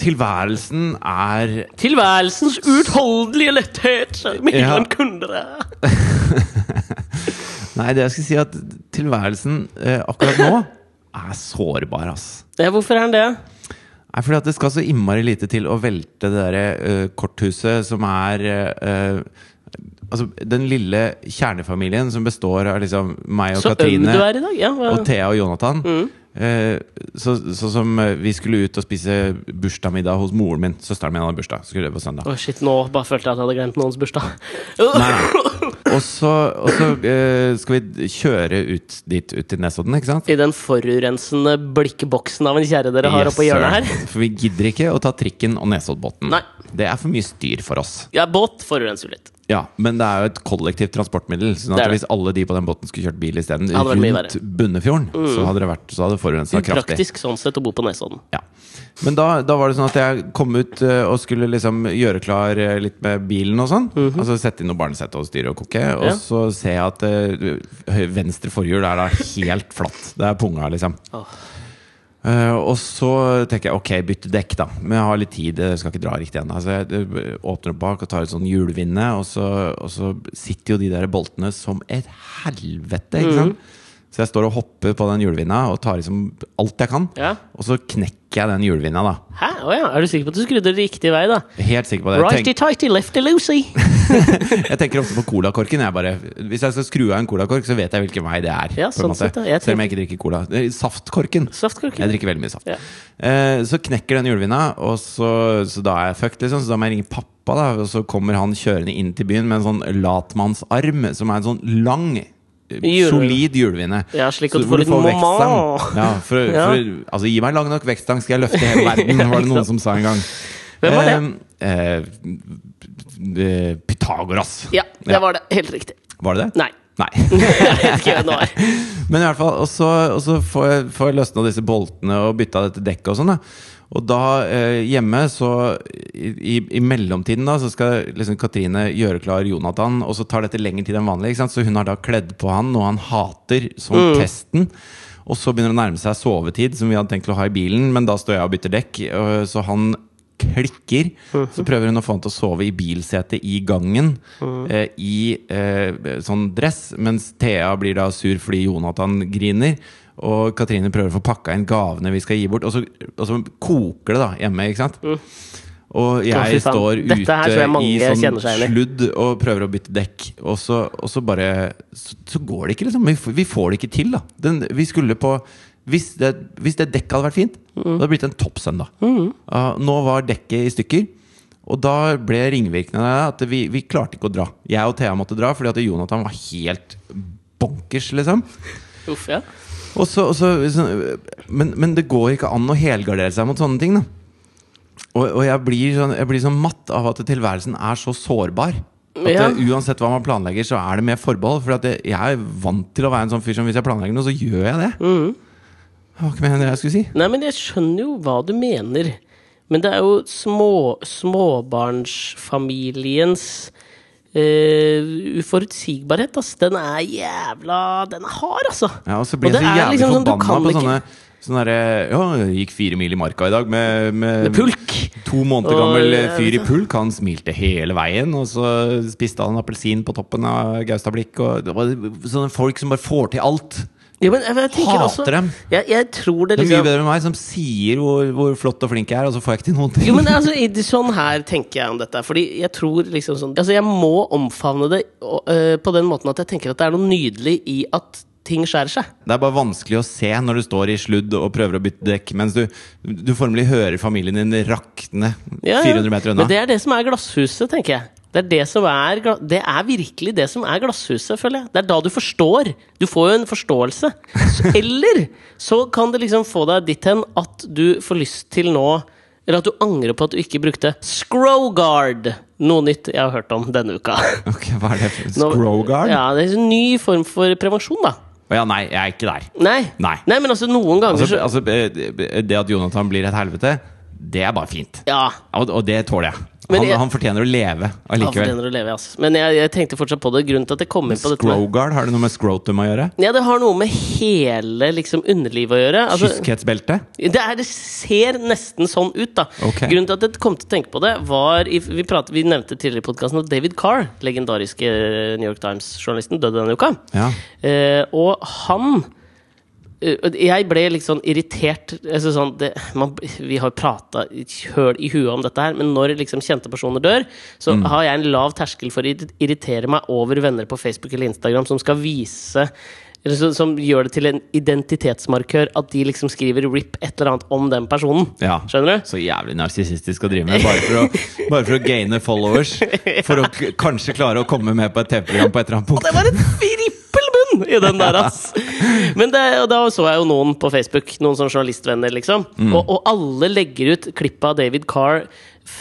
Speaker 2: Tilværelsen er
Speaker 3: Tilværelsens uutholdelige letthet med
Speaker 2: Ja.
Speaker 3: Hilland Kundere.
Speaker 2: Nei, det jeg skulle si er at tilværelsen eh, akkurat nå er sårbar, ass.
Speaker 3: Ja, hvorfor er den det?
Speaker 2: Nei, fordi at det skal så innmari lite til å velte det derre eh, korthuset som er eh, Altså, den lille kjernefamilien som består av liksom meg og
Speaker 3: Så øm
Speaker 2: Katrine
Speaker 3: du er i dag. Ja, Mm. hva-
Speaker 2: og Thea og Jonathan. Eh, så, sånn som eh, vi skulle ut og spise bursdagsmiddag hos moren min. Søsteren min hadde bursdag. Skulle det på søndag.
Speaker 3: Å, shit, nå bare følte jeg at jeg hadde glemt noens bursdag.
Speaker 2: Nei, nei. Og så, og så eh, skal vi kjøre ut dit, ut til Nesodden, ikke sant?
Speaker 3: I den forurensende blikkboksen av en kjerre dere har
Speaker 2: Yes,
Speaker 3: oppå hjørnet
Speaker 2: sir.
Speaker 3: her.
Speaker 2: For vi gidder ikke å ta trikken og Nesoddbåten.
Speaker 3: Nei.
Speaker 2: Det er for mye styr for oss.
Speaker 3: Ja, båt forurenser jo litt.
Speaker 2: Ja, men det er jo et kollektivt transportmiddel. Sånn
Speaker 3: Det
Speaker 2: at
Speaker 3: er det.
Speaker 2: Hvis alle de på den båten skulle kjørt bil isteden,
Speaker 3: Hadde vært mye Mm.
Speaker 2: rundt Bunnefjorden, så hadde det vært Så hadde det forurensa kraftig.
Speaker 3: Upraktisk sånn sett å bo på Nesodden.
Speaker 2: Ja. Men da, da var det sånn at jeg kom ut eh, og skulle liksom gjøre klar eh, litt med bilen og sånn. Altså sette inn noe barnesete og styre og koke. Og
Speaker 3: Mhm. Ja.
Speaker 2: så ser jeg at eh, høy- venstre forhjul er da helt flatt. Det er punga, liksom.
Speaker 3: Åh.
Speaker 2: Eh, og så tenker jeg ok, bytte dekk, da. Men jeg har litt tid. Jeg skal ikke dra riktig ennå. Så jeg eh, åpner opp bak og tar et sånn hjulvinne, og så, og så sitter jo de der boltene som et helvete.
Speaker 3: Mhm.
Speaker 2: Ikke sant? Så jeg står og hopper på den hjulvinna og tar liksom alt jeg kan.
Speaker 3: Ja.
Speaker 2: Og så knekker jeg den hjulvinna, da.
Speaker 3: Hæ? Å ja, er du sikker på at du skrudde riktig vei, da?
Speaker 2: Helt sikker på det. Jeg, tenk,
Speaker 3: Righty-tighty, lefty-loosey.
Speaker 2: jeg tenker ofte på colakorken. Jeg bare, hvis jeg skal skru av en colakork, så vet jeg hvilken vei det er.
Speaker 3: Ja,
Speaker 2: på en
Speaker 3: sånn
Speaker 2: måte.
Speaker 3: sett, ja. Jeg
Speaker 2: Selv om jeg ikke drikker cola. Eh, Saftkorken.
Speaker 3: Saftkorken.
Speaker 2: Jeg drikker veldig mye saft.
Speaker 3: Ja.
Speaker 2: Eh, så knekker den hjulvinda, og så, så da er jeg fucked, liksom. Så da må jeg ringe pappa, da. Og så kommer han kjørende inn til byen med en sånn latmannsarm, som er en sånn lang eh,
Speaker 3: Hjulvinne.
Speaker 2: Solid hjulvinne.
Speaker 3: Ja, slik
Speaker 2: Så
Speaker 3: at du
Speaker 2: hvor
Speaker 3: får litt
Speaker 2: vektstang.
Speaker 3: mamma.
Speaker 2: Ja, for,
Speaker 3: Ja.
Speaker 2: for, altså, gi meg lang nok vektstang, skal jeg løfte hele verden,
Speaker 3: Ja,
Speaker 2: var det
Speaker 3: ikke
Speaker 2: noen som sa en gang.
Speaker 3: Hvem var det?
Speaker 2: Eh, eh, eh, Pythagoras.
Speaker 3: Ja, det var det. Helt riktig.
Speaker 2: Var det det?
Speaker 3: Nei.
Speaker 2: Nei.
Speaker 3: Jeg vet ikke hvem det var.
Speaker 2: Men i hvert fall, og så, og så får, jeg, får jeg løsna disse boltene og bytta dette dekket og sånn. da Og da eh, hjemme, så i, i, i mellomtiden, da, så skal liksom Katrine gjøre klar Jonathan, og så tar dette lengre tid enn vanlig. Ikke sant? Så hun har da kledd på han noe han hater, som pesten. Og så begynner det å nærme seg sovetid, som vi hadde tenkt å ha i bilen, men da står jeg og bytter dekk. øh, Så han klikker. Så prøver hun å få han til å sove i bilsetet i gangen eh, i eh, sånn dress, mens Thea blir da sur fordi Jonathan griner. Og Katrine prøver å få pakka inn gavene vi skal gi bort. Og så, og så koker det da hjemme, ikke sant? Og
Speaker 3: Å, fy
Speaker 2: jeg
Speaker 3: faen.
Speaker 2: står
Speaker 3: Dette her
Speaker 2: ute
Speaker 3: tror jeg mange
Speaker 2: i
Speaker 3: kjenner
Speaker 2: sånn
Speaker 3: seg igjen i.
Speaker 2: sludd og prøver å bytte dekk, og så, og så bare så, så går det ikke, liksom. Vi, f- vi får det ikke til, da. Den, vi skulle på hvis det, hvis det dekket hadde vært fint,
Speaker 3: Mm.
Speaker 2: det hadde det blitt en toppsøndag. Ah, nå var dekket i stykker, og da ble ringvirkningene at vi, vi klarte ikke å dra. Jeg og Thea måtte dra fordi at Jonathan var helt bonkers, liksom.
Speaker 3: Uff, ja.
Speaker 2: Og så, og så, sånn, men, men det går ikke an å helgardere seg mot sånne ting. Da. Og, og jeg, blir sånn, jeg blir sånn matt av at tilværelsen er så sårbar. At
Speaker 3: Ja.
Speaker 2: det, uansett hva man planlegger, så er det med forbehold. For at jeg, jeg er vant til å være en sånn fyr som hvis jeg planlegger noe, så gjør jeg det. Det var ikke mer enn det jeg skulle si.
Speaker 3: Nei, men jeg skjønner jo hva du mener. Men det er jo små, småbarnsfamiliens eh, uforutsigbarhet, ass. Den er jævla Den er hard, altså.
Speaker 2: Ja, og så blir
Speaker 3: Og
Speaker 2: jeg
Speaker 3: det
Speaker 2: så
Speaker 3: er
Speaker 2: jævlig
Speaker 3: liksom sånn, du
Speaker 2: forbanna
Speaker 3: kan
Speaker 2: på
Speaker 3: ikke-
Speaker 2: sånne, sånne derre Ja, jeg gikk fire mil i marka i dag med, med,
Speaker 3: Med pulk.
Speaker 2: To måneder
Speaker 3: Og- eh,
Speaker 2: gammel eh,
Speaker 3: jeg
Speaker 2: fyr i
Speaker 3: vet
Speaker 2: pulk. Han smilte hele veien, og så spiste han appelsin på toppen av Gaustablikk. Og det var sånne folk som bare får til alt.
Speaker 3: Ja, men jeg, jeg tenker
Speaker 2: Hater
Speaker 3: også,
Speaker 2: dem.
Speaker 3: Jeg, jeg tror det
Speaker 2: Det er mye
Speaker 3: liksom
Speaker 2: bedre enn meg, som sier hvor, hvor flott og flink jeg er, og så får jeg ikke til noen ting.
Speaker 3: Jo, men altså, i det- sånn her tenker jeg om dette. Fordi jeg tror liksom sånn Altså, jeg må omfavne det og, øh, på den måten at jeg tenker at det er noe nydelig i at ting skjærer seg.
Speaker 2: Det er bare vanskelig å se når du står i sludd og prøver å bytte dekk, mens du, du formelig hører familien din rakne
Speaker 3: Ja, ja.
Speaker 2: 400 meter unna.
Speaker 3: Men det er det som er glasshuset, tenker jeg. Det er, det, som er, gla- det er virkelig det som er glasshuset, føler jeg. Det er da du forstår. Du får jo en forståelse. Så- Eller så kan det liksom få deg dit hen at du får lyst til nå Eller at du angrer på at du ikke brukte Scrowguard! Noe nytt jeg har hørt om denne uka.
Speaker 2: Ok, hva er det for
Speaker 3: Nå-
Speaker 2: Scrowguard?
Speaker 3: Ja, det er en ny form for prevensjon, da.
Speaker 2: Å ja, nei, jeg er ikke der.
Speaker 3: Nei,
Speaker 2: Nei.
Speaker 3: men altså, noen ganger
Speaker 2: Altså,
Speaker 3: så
Speaker 2: altså, eh, det at Jonathan blir et helvete, det er bare fint.
Speaker 3: Ja.
Speaker 2: Og, og det tåler jeg.
Speaker 3: Men
Speaker 2: Han,
Speaker 3: jeg-
Speaker 2: han fortjener å leve
Speaker 3: Han
Speaker 2: allikevel.
Speaker 3: fortjener å leve, altså. Men jeg, jeg tenkte fortsatt på det. Grunnen til at jeg kom inn på dette med
Speaker 2: Scrowguard, har det noe med scrotum å gjøre?
Speaker 3: Ja, det har noe med hele liksom, underlivet å gjøre. Altså,
Speaker 2: Kyskhetsbelte?
Speaker 3: Det, er, det ser nesten sånn ut, da.
Speaker 2: Ok.
Speaker 3: Grunnen til at jeg kom til å tenke på det, var i, vi, pratet, vi nevnte tidligere i podkasten at David Carr, legendariske eh, New York Times-journalisten, døde denne uka.
Speaker 2: Ja.
Speaker 3: Eh, og han eh, Jeg ble litt sånn irritert. Altså sånn, det, man, vi har prata høl i huet om dette her, men når liksom kjente personer dør, så har jeg en lav terskel for å irri- irritere meg over venner på Facebook eller Instagram som skal vise eller så, som gjør det til en identitetsmarkør at de liksom skriver 'rip' et eller annet om den personen.
Speaker 2: Ja.
Speaker 3: Skjønner du?
Speaker 2: Så jævlig narsissistisk å drive med, bare for å, bare for å gaine followers. For å k kanskje klare å komme med på et TV-program på et eller annet
Speaker 3: Det
Speaker 2: punkt.
Speaker 3: var et frippelbunn i den der, ass! Men det, og da så jeg jo noen
Speaker 2: Mm.
Speaker 3: på Facebook, noen sånne journalistvenner, liksom. Og, og alle legger ut klipp av David Carr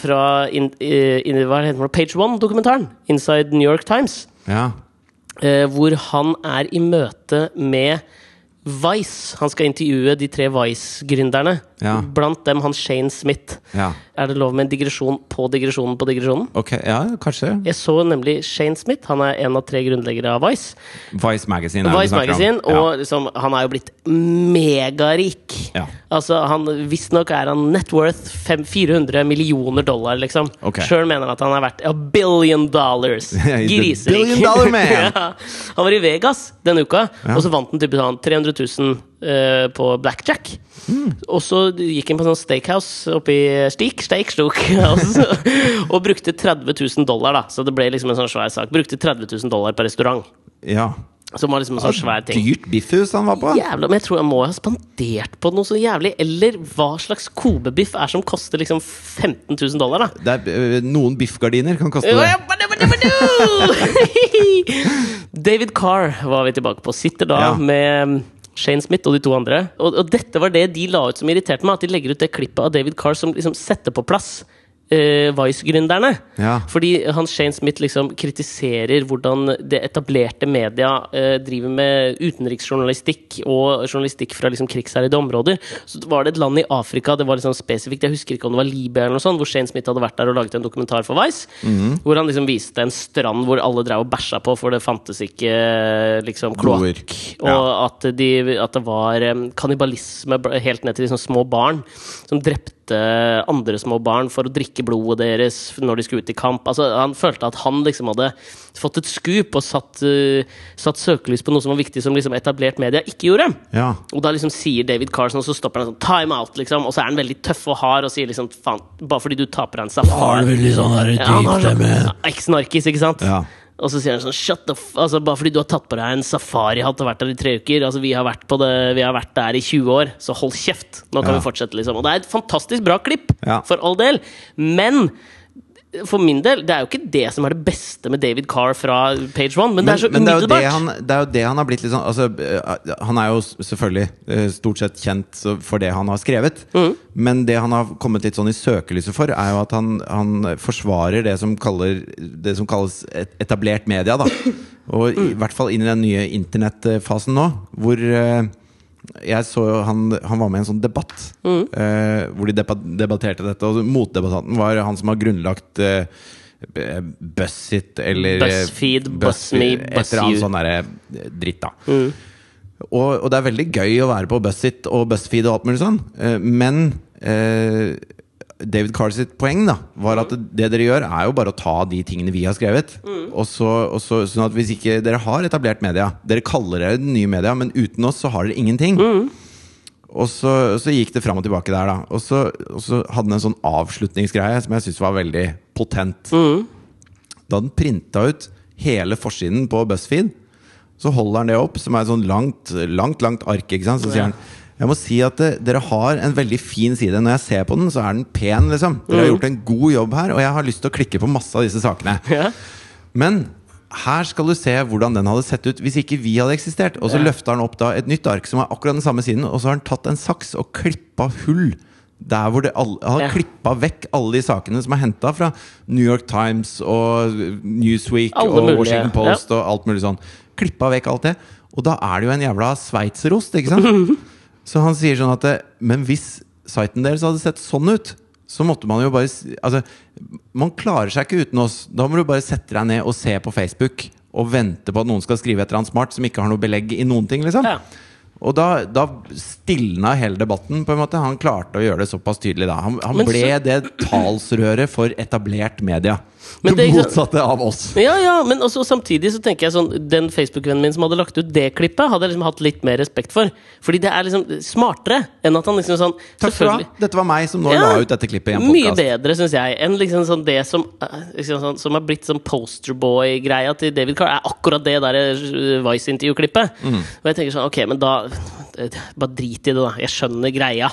Speaker 3: fra in, eh, in, hva heter det, Page One-dokumentaren, Inside New York Times,
Speaker 2: Ja.
Speaker 3: eh, hvor han er i møte med Vice. Han skal intervjue de tre Vice-gründerne,
Speaker 2: Ja.
Speaker 3: blant dem han Shane Smith.
Speaker 2: ja.
Speaker 3: Er det lov med en digresjon på digresjonen på digresjonen?
Speaker 2: Ok, ja, kanskje.
Speaker 3: Jeg så nemlig Shane Smith, han er en av tre grunnleggere av Vice.
Speaker 2: Vice Magazine. er det du
Speaker 3: Vice
Speaker 2: snakker om.
Speaker 3: Magazine,
Speaker 2: Ja.
Speaker 3: og liksom, han er jo blitt megarik.
Speaker 2: Ja.
Speaker 3: Altså, han Visstnok er han net worth fem- 400 millioner dollar, liksom.
Speaker 2: Ok.
Speaker 3: Sjøl mener han at han er verdt a billion dollars.
Speaker 2: the
Speaker 3: Griserik.
Speaker 2: billion dollar man.
Speaker 3: ja. Han var i Vegas denne uka, og så vant han typ sånn 300 000 eh, på blackjack.
Speaker 2: Hmm.
Speaker 3: Og så gikk han på sånn steakhouse oppe i Stik, steak, stok, og så- og brukte 30 000 dollar, da. Så det ble liksom en sånn svær sak. Brukte 30 000 dollar på restaurant.
Speaker 2: Ja.
Speaker 3: Som var liksom en sånn svær ting.
Speaker 2: Dyrt biffhus han var på.
Speaker 3: Jævla, men jeg tror jeg må ha spandert på noe så jævlig. Eller hva slags kobebiff er som koster liksom 15 000 dollar, da?
Speaker 2: Det er, eh, noen biffgardiner kan koste det.
Speaker 3: David Carr var vi tilbake på. Sitter da
Speaker 2: Ja.
Speaker 3: med Shane Smith og de to andre. Og, og dette var det de la ut som irriterte meg. At de legger ut det klippet av David Carr som liksom setter på plass eh, Vice-gründerne.
Speaker 2: Ja.
Speaker 3: Fordi han Shane Smith liksom kritiserer hvordan det etablerte media eh, driver med utenriksjournalistikk og journalistikk fra liksom krigsherjede områder. Så var det et land i Afrika, det var liksom spesifikt, jeg husker ikke om det var Libya eller noe sånt, hvor Shane Smith hadde vært der og laget en dokumentar for Vice.
Speaker 2: Mhm.
Speaker 3: Hvor han liksom viste en strand hvor alle drev og bæsja på, for det fantes ikke eh, liksom
Speaker 2: Kloer.
Speaker 3: kloakk. Og
Speaker 2: Ja.
Speaker 3: at, de, at det var em, kannibalisme bl- helt ned til de sånne små barn som drepte andre små barn for å drikke blodet deres når de skulle ut i kamp. Altså, han følte at han liksom hadde fått et skup og satt, eh, satt søkelys på noe som var viktig, som liksom etablert media ikke gjorde.
Speaker 2: Ja.
Speaker 3: Og da liksom sier David Carson, og så stopper han sånn time out, liksom. Og så er han veldig tøff og hard og sier liksom faen, bare fordi du taper en safari
Speaker 2: veldig sånn her
Speaker 3: ja, han har sånn eks-narkis, ikke sant?
Speaker 2: Ja.
Speaker 3: Og så sier han sånn Shut the f... Altså, bare fordi du har tatt på deg en safarihatt og vært der i tre uker Altså, vi har vært, på det, vi har vært der i 20 år, så hold kjeft! Nå kan
Speaker 2: Ja.
Speaker 3: vi fortsette, liksom. Og det er et fantastisk bra klipp,
Speaker 2: Ja.
Speaker 3: for all del. Men for min del, det er jo ikke det som er det beste med David Carr fra Page One, men, det er så
Speaker 2: men det, er jo det,
Speaker 3: umiddelbart.
Speaker 2: han, det er jo det han har blitt litt sånn altså, eh, Han er jo s- selvfølgelig eh, stort sett kjent så- for det han har skrevet.
Speaker 3: Mm.
Speaker 2: Men det han har kommet litt sånn i søkelyset for, er jo at han, han forsvarer det som, kaller, det som kalles et etablert media. Da. Og i hvert fall inn i den nye internettfasen nå, hvor eh, jeg så jo han, han var med i en sånn debatt
Speaker 3: Mm.
Speaker 2: eh, hvor de debat- debatterte dette. Og motdebattanten var han som har grunnlagt eh, B- Buzzfeed eller eh,
Speaker 3: Buzzfeed,
Speaker 2: Buzzfeed,
Speaker 3: Buzzme,
Speaker 2: Et eller annet
Speaker 3: Buzzyu.
Speaker 2: sånn derre dritt, da. Og, og det er veldig gøy å være på Buzzfeed og Buzzfeed og alt mulig sånn, eh, men eh, David Carr sitt poeng da var at det dere gjør, er jo bare å ta de tingene vi har skrevet. Og så, og så, sånn at hvis ikke dere har etablert media Dere kaller dere den nye media, men uten oss så har dere ingenting. Og så, så gikk det fram og tilbake der, da. Og så, og så hadde den en sånn avslutningsgreie som jeg syntes var veldig potent. Da den printa ut hele forsiden på BuzzFeed, så holder han det opp som er et sånn langt, langt, langt ark. ikke sant? Så sier han jeg må si at eh, dere har en veldig fin side. Når jeg ser på den, så er den pen. liksom. Dere har gjort en god jobb her, og jeg har lyst til å klikke på masse av disse sakene.
Speaker 3: Ja.
Speaker 2: Men her skal du se hvordan den hadde sett ut hvis ikke vi hadde eksistert. Og så løfter han opp da et nytt ark som er akkurat den samme siden, og så har han tatt en saks og klippa hull. Der hvor det alle, Han har
Speaker 3: Ja.
Speaker 2: klippa vekk alle de sakene som er henta fra New York Times og Newsweek
Speaker 3: Alle
Speaker 2: og
Speaker 3: mulige,
Speaker 2: Washington
Speaker 3: ja.
Speaker 2: Post og alt mulig sånn. Klippa vekk alt det. Og da er det jo en jævla sveitserost, ikke sant? Så han sier sånn at eh, Men hvis siten deres hadde sett sånn ut, så måtte man jo bare s- Altså, man klarer seg ikke uten oss. Da må du bare sette deg ned og se på Facebook og vente på at noen skal skrive et eller annet smart som ikke har noe belegg i noen ting, liksom.
Speaker 3: Ja.
Speaker 2: Og da, da stilna hele debatten. på en måte Han klarte å gjøre det såpass tydelig da. Han, han
Speaker 3: Men
Speaker 2: ble det talsrøret for etablert media.
Speaker 3: Men
Speaker 2: det
Speaker 3: det er ikke-
Speaker 2: motsatte av oss.
Speaker 3: Ja, ja, men også, samtidig så tenker jeg sånn Den Facebook-vennen min som hadde lagt ut det klippet, hadde jeg liksom hatt litt mer respekt for. Fordi det er liksom smartere enn at han liksom sånn
Speaker 2: Takk skal du ha.
Speaker 3: selvfølgelig-
Speaker 2: Dette var meg som nå
Speaker 3: Ja,
Speaker 2: la ut dette klippet i en
Speaker 3: Mye
Speaker 2: podkast.
Speaker 3: bedre, syns jeg, enn liksom sånn det som eh, liksom sånn, Som har blitt sånn posterboy-greia til David Carr, er akkurat det der eh, Vice-intervju-klippet.
Speaker 2: Mm.
Speaker 3: Og jeg tenker sånn, ok, men da eh, Bare drit i det, da. Jeg skjønner greia.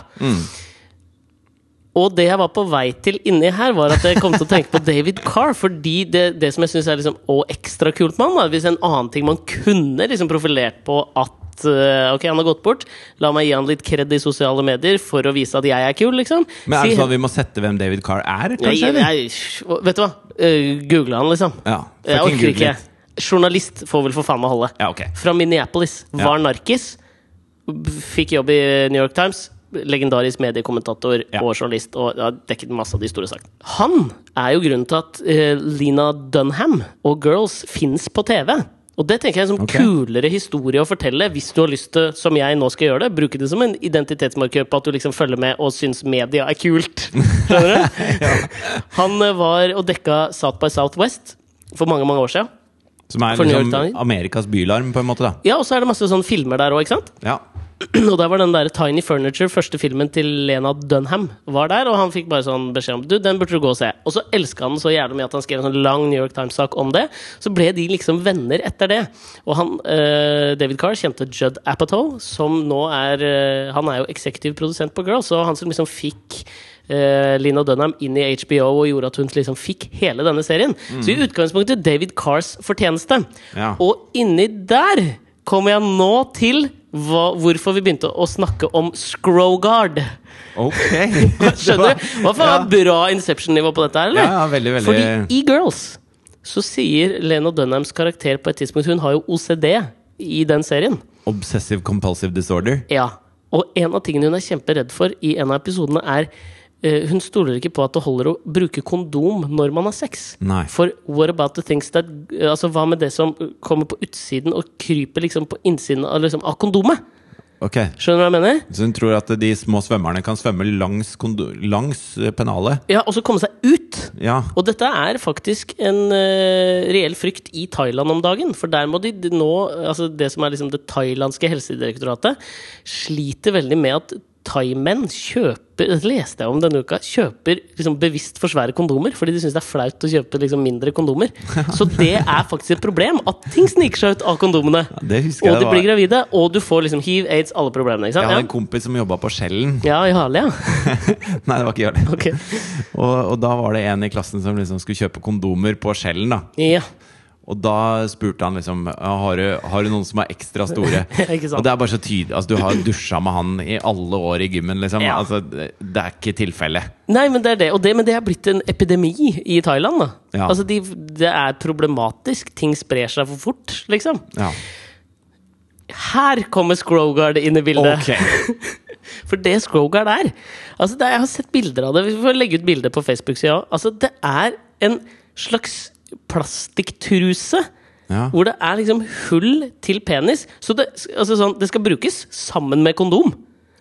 Speaker 3: Og det jeg var på vei til inni her, var at jeg kom til å tenke på David Carr. Fordi det, det som jeg syns er liksom, og ekstra kult med han, var hvis en annen ting man kunne liksom profilert på at at eh, ok, han har gått bort, la meg gi han litt kred i sosiale medier for å vise at jeg er kul, liksom.
Speaker 2: Men er
Speaker 3: Si-
Speaker 2: det sånn at vi må sette hvem David Carr er?
Speaker 3: Nei,
Speaker 2: Kanskje, eller?
Speaker 3: nei, vet du hva? Uh, Google han, liksom.
Speaker 2: Ja,
Speaker 3: jeg
Speaker 2: fucking
Speaker 3: orker
Speaker 2: Google
Speaker 3: ikke.
Speaker 2: it.
Speaker 3: Journalist får vel for faen meg holde.
Speaker 2: Ja, ok.
Speaker 3: Fra Minneapolis.
Speaker 2: Ja.
Speaker 3: Var narkis. b- Fikk jobb i New York Times. Legendarisk mediekommentator
Speaker 2: Ja.
Speaker 3: og journalist. Og har dekket masse av de store sakene. Han er jo grunnen til at eh, Lena Dunham og Girls fins på TV. Og det tenker jeg er en sånn
Speaker 2: Ok.
Speaker 3: kulere historie å fortelle hvis du har lyst til, som jeg nå skal gjøre det, bruke det som en identitetsmarkør på at du liksom følger med og syns media er kult. Skjønner du? Han eh, var og dekka South by Southwest for mange, mange år siden.
Speaker 2: Som er
Speaker 3: For New York
Speaker 2: liksom
Speaker 3: Times.
Speaker 2: Amerikas bylarm, på en måte. da
Speaker 3: Ja, og så er det masse sånne filmer der òg, ikke sant?
Speaker 2: Ja,
Speaker 3: Og der var den der Tiny Furniture, første filmen til Lena Dunham, var der, og han fikk bare sånn beskjed om Du, den burde du gå og se. Og så elska han den så jævlig mye at han skrev en sånn lang New York Times-sak om det. Så ble de liksom venner etter det. Og han, eh, David Carr kjente Judd Apatow, som nå er eh, Han er jo eksekutiv produsent på Girls, og han som liksom fikk eh, Lena Dunham inn i HBO og gjorde at hun liksom fikk hele denne serien. Så i utgangspunktet David Carrs fortjeneste.
Speaker 2: Ja.
Speaker 3: Og inni der kommer jeg nå til hva, hvorfor vi begynte å snakke om Scrogard.
Speaker 2: ok
Speaker 3: Skjønner du? Hva faen er bra Inception-nivå på dette her, eller?
Speaker 2: Ja, ja, veldig, veldig-
Speaker 3: Fordi i Girls så sier Lena Dunhams karakter på et tidspunkt Hun har jo OCD i den serien.
Speaker 2: Obsessive compulsive disorder.
Speaker 3: Ja, og en av tingene hun er kjemperedd for i en av episodene er eh, hun stoler ikke på at det holder å bruke kondom når man har sex.
Speaker 2: Nei.
Speaker 3: For what about the things that eh, Altså, hva med det som kommer på utsiden og kryper liksom på innsiden av, liksom, av kondomet?
Speaker 2: Ok
Speaker 3: Skjønner du hva jeg mener?
Speaker 2: Så hun tror at de små svømmerne kan svømme langs, kondo langs eh, pennalet?
Speaker 3: Ja, og så komme seg ut.
Speaker 2: Ja.
Speaker 3: Og dette er faktisk en eh, reell frykt i Thailand om dagen. For der må de d- nå Altså, det som er liksom det thailandske helsedirektoratet, sliter veldig med at thaimenn kjøper Dette leste jeg om denne uka. Kjøper liksom bevisst for svære kondomer fordi de syns det er flaut å kjøpe liksom mindre kondomer. Så det er faktisk et problem at ting sniker seg ut av kondomene.
Speaker 2: det husker
Speaker 3: Og
Speaker 2: jeg det
Speaker 3: de blir
Speaker 2: var.
Speaker 3: gravide, og du får liksom hiv, aids, alle problemene. Ikke
Speaker 2: Jeg hadde en
Speaker 3: sant?
Speaker 2: kompis som jobba på Skjellen.
Speaker 3: Ja, i hale, ja.
Speaker 2: Nei, det var ikke Jarle.
Speaker 3: Ok.
Speaker 2: Og, og da var det en i klassen som liksom skulle kjøpe kondomer på Skjellen. da
Speaker 3: Ja.
Speaker 2: Og da spurte han liksom «Ja, har du, har du noen som er ekstra store.
Speaker 3: Ikke
Speaker 2: Og
Speaker 3: sant?
Speaker 2: det er bare så tydelig altså, Du har dusja med han i alle år i gymmen, liksom.
Speaker 3: Ja.
Speaker 2: Altså, det det er ikke tilfellet.
Speaker 3: Nei, men det er det. Og det, men det er blitt en epidemi i Thailand. da.
Speaker 2: Ja.
Speaker 3: Altså, de, Det er problematisk. Ting sprer seg for fort, liksom.
Speaker 2: Ja.
Speaker 3: Her kommer Scrogard inn i bildet.
Speaker 2: Ok.
Speaker 3: For det Scrogard er altså det, er- Jeg har sett bilder av det. Vi får legge ut bilder på Facebook-sida òg. Altså, det er en slags plastikktruse.
Speaker 2: Ja.
Speaker 3: Hvor det er liksom hull til penis. Så det, altså sånn, det skal brukes sammen med kondom.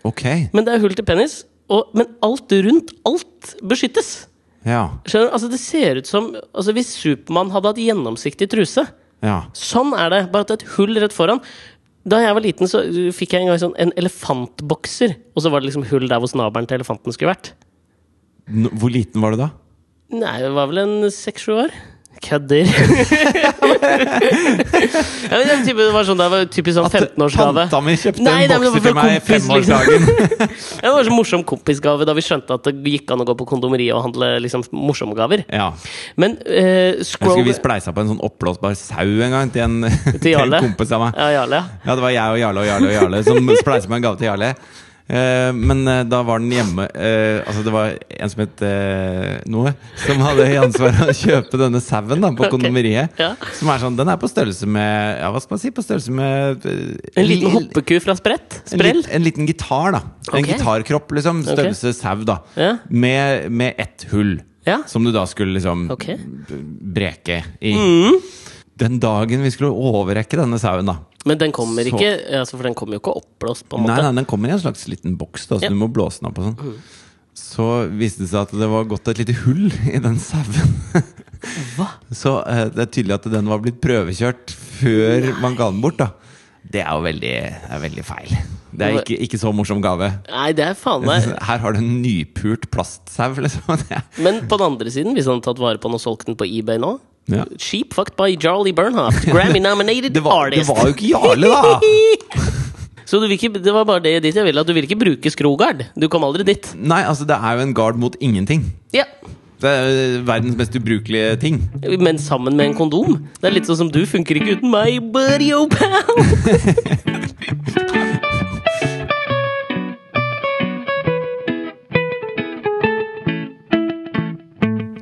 Speaker 2: Ok.
Speaker 3: Men det er hull til penis. Og, men alt rundt, alt beskyttes.
Speaker 2: Ja.
Speaker 3: Skjønner du? Altså, det ser ut som altså, Hvis Supermann hadde hatt gjennomsiktig truse
Speaker 2: Ja.
Speaker 3: Sånn er det, bare at det er et hull rett foran. Da jeg var liten, så uh, fikk jeg en gang sånn en elefantbokser. Og så var det liksom hull der hvor snabelen til elefanten skulle vært.
Speaker 2: N hvor liten var du da?
Speaker 3: Nei, det var vel en seks-sju år. Kødder. ja, men den typen- det var sånn, det var typisk sånn 15-årsgave.
Speaker 2: Tanta mi kjøpte
Speaker 3: Nei, det
Speaker 2: en
Speaker 3: er
Speaker 2: bokse til
Speaker 3: bare
Speaker 2: meg i
Speaker 3: kompis, liksom.
Speaker 2: femårsdagen.
Speaker 3: Ja, Det var en sånn morsom kompisgave da vi skjønte at det gikk an å gå på kondomeriet og handle liksom morsomme gaver.
Speaker 2: ja.
Speaker 3: Men eh,
Speaker 2: Jeg husker
Speaker 3: scroll
Speaker 2: vi spleisa på en sånn oppblåsbar sau en gang til en, til en
Speaker 3: Jarle?
Speaker 2: kompis av meg.
Speaker 3: Ja, Jarle. ja.
Speaker 2: Ja, det var jeg og Jarle og Jarle og Jarle som spleisa på en gave til Jarle. Eh, men eh, da var den hjemme eh, Altså, det var en som het eh, noe, som hadde i ansvar å kjøpe denne sauen da, på kondomeriet.
Speaker 3: Ja.
Speaker 2: Som er sånn Den er på størrelse med Ja, hva skal man si? På størrelse med eh,
Speaker 3: En liten
Speaker 2: li-
Speaker 3: hoppeku fra sprett?
Speaker 2: en,
Speaker 3: Sprell?
Speaker 2: lit- en liten gitar, da. En
Speaker 3: Ok.
Speaker 2: gitarkropp, liksom. Størrelse sau, da.
Speaker 3: Ja.
Speaker 2: Med, med ett hull.
Speaker 3: Ja.
Speaker 2: Som du da skulle liksom
Speaker 3: Ok. Mm.
Speaker 2: b- breke i. Den dagen vi skulle overrekke denne sauen, da
Speaker 3: Men den kommer
Speaker 2: Så-
Speaker 3: ikke altså For den kommer jo ikke oppblåst, på en
Speaker 2: Nei,
Speaker 3: måte.
Speaker 2: nei, den kommer i en slags liten boks, da, så
Speaker 3: Ja. Mm.
Speaker 2: du må blåse den opp og sånn. Så viste det seg at det var gått et lite hull i den sauen.
Speaker 3: Hva?
Speaker 2: Så eh, det er tydelig at den var blitt prøvekjørt før man ga den bort, da. Det er jo veldig, det er veldig feil. Det er ikke, ikke så morsom gave.
Speaker 3: Nei, det er faen meg
Speaker 2: Her har du en nypult plastsau, liksom. Det er-
Speaker 3: Men på den andre siden, hvis han hadde tatt vare på den og solgt den på eBay nå
Speaker 2: Ja.
Speaker 3: Cheap fucked by Jarlie Bernhardt, Grammy-nominated
Speaker 2: Det var, det
Speaker 3: artist.
Speaker 2: var jo ikke Jarle, da!
Speaker 3: Så du vil ikke, det var bare det dit jeg ville, at du vil ikke bruke Skrogard. Du kom aldri dit.
Speaker 2: Nei, altså, det er jo en gard mot ingenting.
Speaker 3: Ja,
Speaker 2: Det er eh, verdens mest ubrukelige ting.
Speaker 3: Men sammen med en kondom. Det er litt sånn som du funker ikke uten meg, buddy oh pal.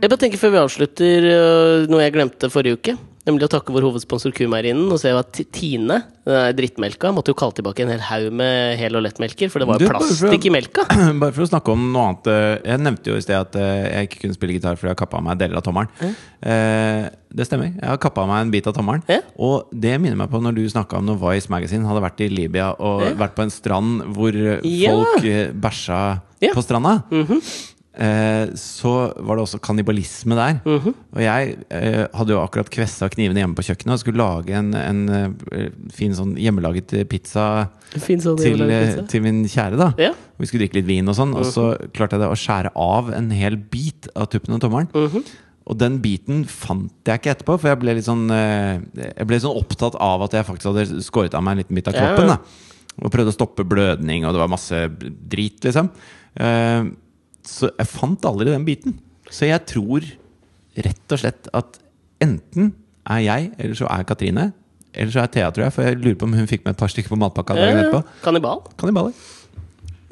Speaker 3: Jeg bare tenker før vi avslutter øh, noe jeg glemte forrige uke. Nemlig å takke vår hovedsponsor Kumeierinen. Og se at Ti- Tine, den der drittmelka, måtte jo kalle tilbake en hel haug med hel- og lettmelker. For det var
Speaker 2: Du,
Speaker 3: jo
Speaker 2: bare for å-
Speaker 3: plastikk i melka.
Speaker 2: Bare for å snakke om noe annet eh, Jeg nevnte jo i sted at eh, jeg ikke kunne spille gitar fordi jeg har kappa av meg deler av tommelen. Eh, Det stemmer. Jeg har kappa av meg en bit av tommelen.
Speaker 3: Ja.
Speaker 2: Og det minner meg på når du snakka om når Vice Magazine hadde vært i Libya og vært på en strand hvor eh,
Speaker 3: Ja.
Speaker 2: folk eh, bæsja
Speaker 3: Ja. Mhm.
Speaker 2: på stranda. Eh, så var det også kannibalisme der.
Speaker 3: Mhm.
Speaker 2: Og jeg eh, hadde jo akkurat kvessa knivene hjemme på kjøkkenet og skulle lage en, en eh, fin sånn hjemmelaget eh, pizza
Speaker 3: Fin sånn
Speaker 2: til, eh,
Speaker 3: hjemmelagd pizza.
Speaker 2: til min kjære, da.
Speaker 3: Ja.
Speaker 2: Vi skulle drikke litt vin og sånn, og så
Speaker 3: Mhm.
Speaker 2: klarte jeg da å skjære av en hel bit av tuppen og tommelen.
Speaker 3: Mhm.
Speaker 2: Og den biten fant jeg ikke etterpå, for jeg ble litt sånn eh, Jeg ble sånn opptatt av at jeg faktisk hadde skåret av meg en liten bit av
Speaker 3: Ja, ja.
Speaker 2: kroppen. da Og prøvde å stoppe blødning, og det var masse drit, liksom. Eh, så jeg fant aldri den biten. Så jeg tror rett og slett at enten er jeg, eller så er Katrine, eller så er Thea, tror jeg, for jeg lurer på om hun fikk med et par stykker på matpakka dagen
Speaker 3: Ja,
Speaker 2: etterpå.
Speaker 3: Kannibal.
Speaker 2: Kannibaler.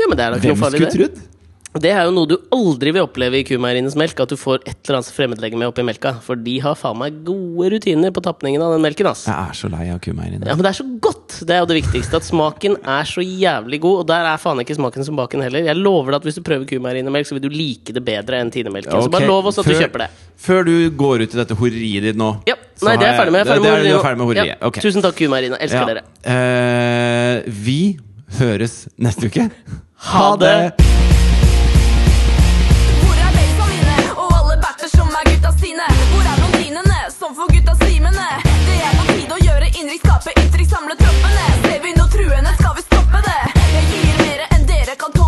Speaker 3: Ja, men det er da ikke
Speaker 2: Hvem
Speaker 3: noe farlig,
Speaker 2: skulle
Speaker 3: det.
Speaker 2: trodd?
Speaker 3: Det er jo noe du aldri vil oppleve i kumeierines melk, at du får et eller annet fremmedlegeme oppi melka. For de har faen meg gode rutiner på tapningen av den melken, ass.
Speaker 2: Jeg er så lei av kumeieriene.
Speaker 3: Ja, men det er så godt! Det er jo det viktigste. At smaken er så jævlig god. Og der er faen ikke smaken som baken heller. Jeg lover deg at hvis du prøver kumeierinemelk, så vil du like det bedre enn tinemelken. Så bare lov oss at du kjøper det.
Speaker 2: Før du går ut i dette horeriet ditt nå
Speaker 3: Ja.
Speaker 2: så
Speaker 3: Nei, det er jeg
Speaker 2: har
Speaker 3: ferdig med. Jeg
Speaker 2: Det, det er du
Speaker 3: horeriet
Speaker 2: er ferdig med
Speaker 3: nå.
Speaker 2: horeriet.
Speaker 3: Ja.
Speaker 2: Ok.
Speaker 3: Tusen takk, kumeierine.
Speaker 2: Ja.
Speaker 3: Elsker dere.
Speaker 2: Eh, vi høres neste uke.
Speaker 3: Ha det!
Speaker 4: Hvor er basa mine? Og alle bæsjer som er gutta sine? Hvor er blondinene som får gutta slimene? Det er på tide å gjøre innrykk, skape inntrykk, samle troppene. Ser vi noe truende, skal vi stoppe det. Jeg gir mere enn dere kan tåle.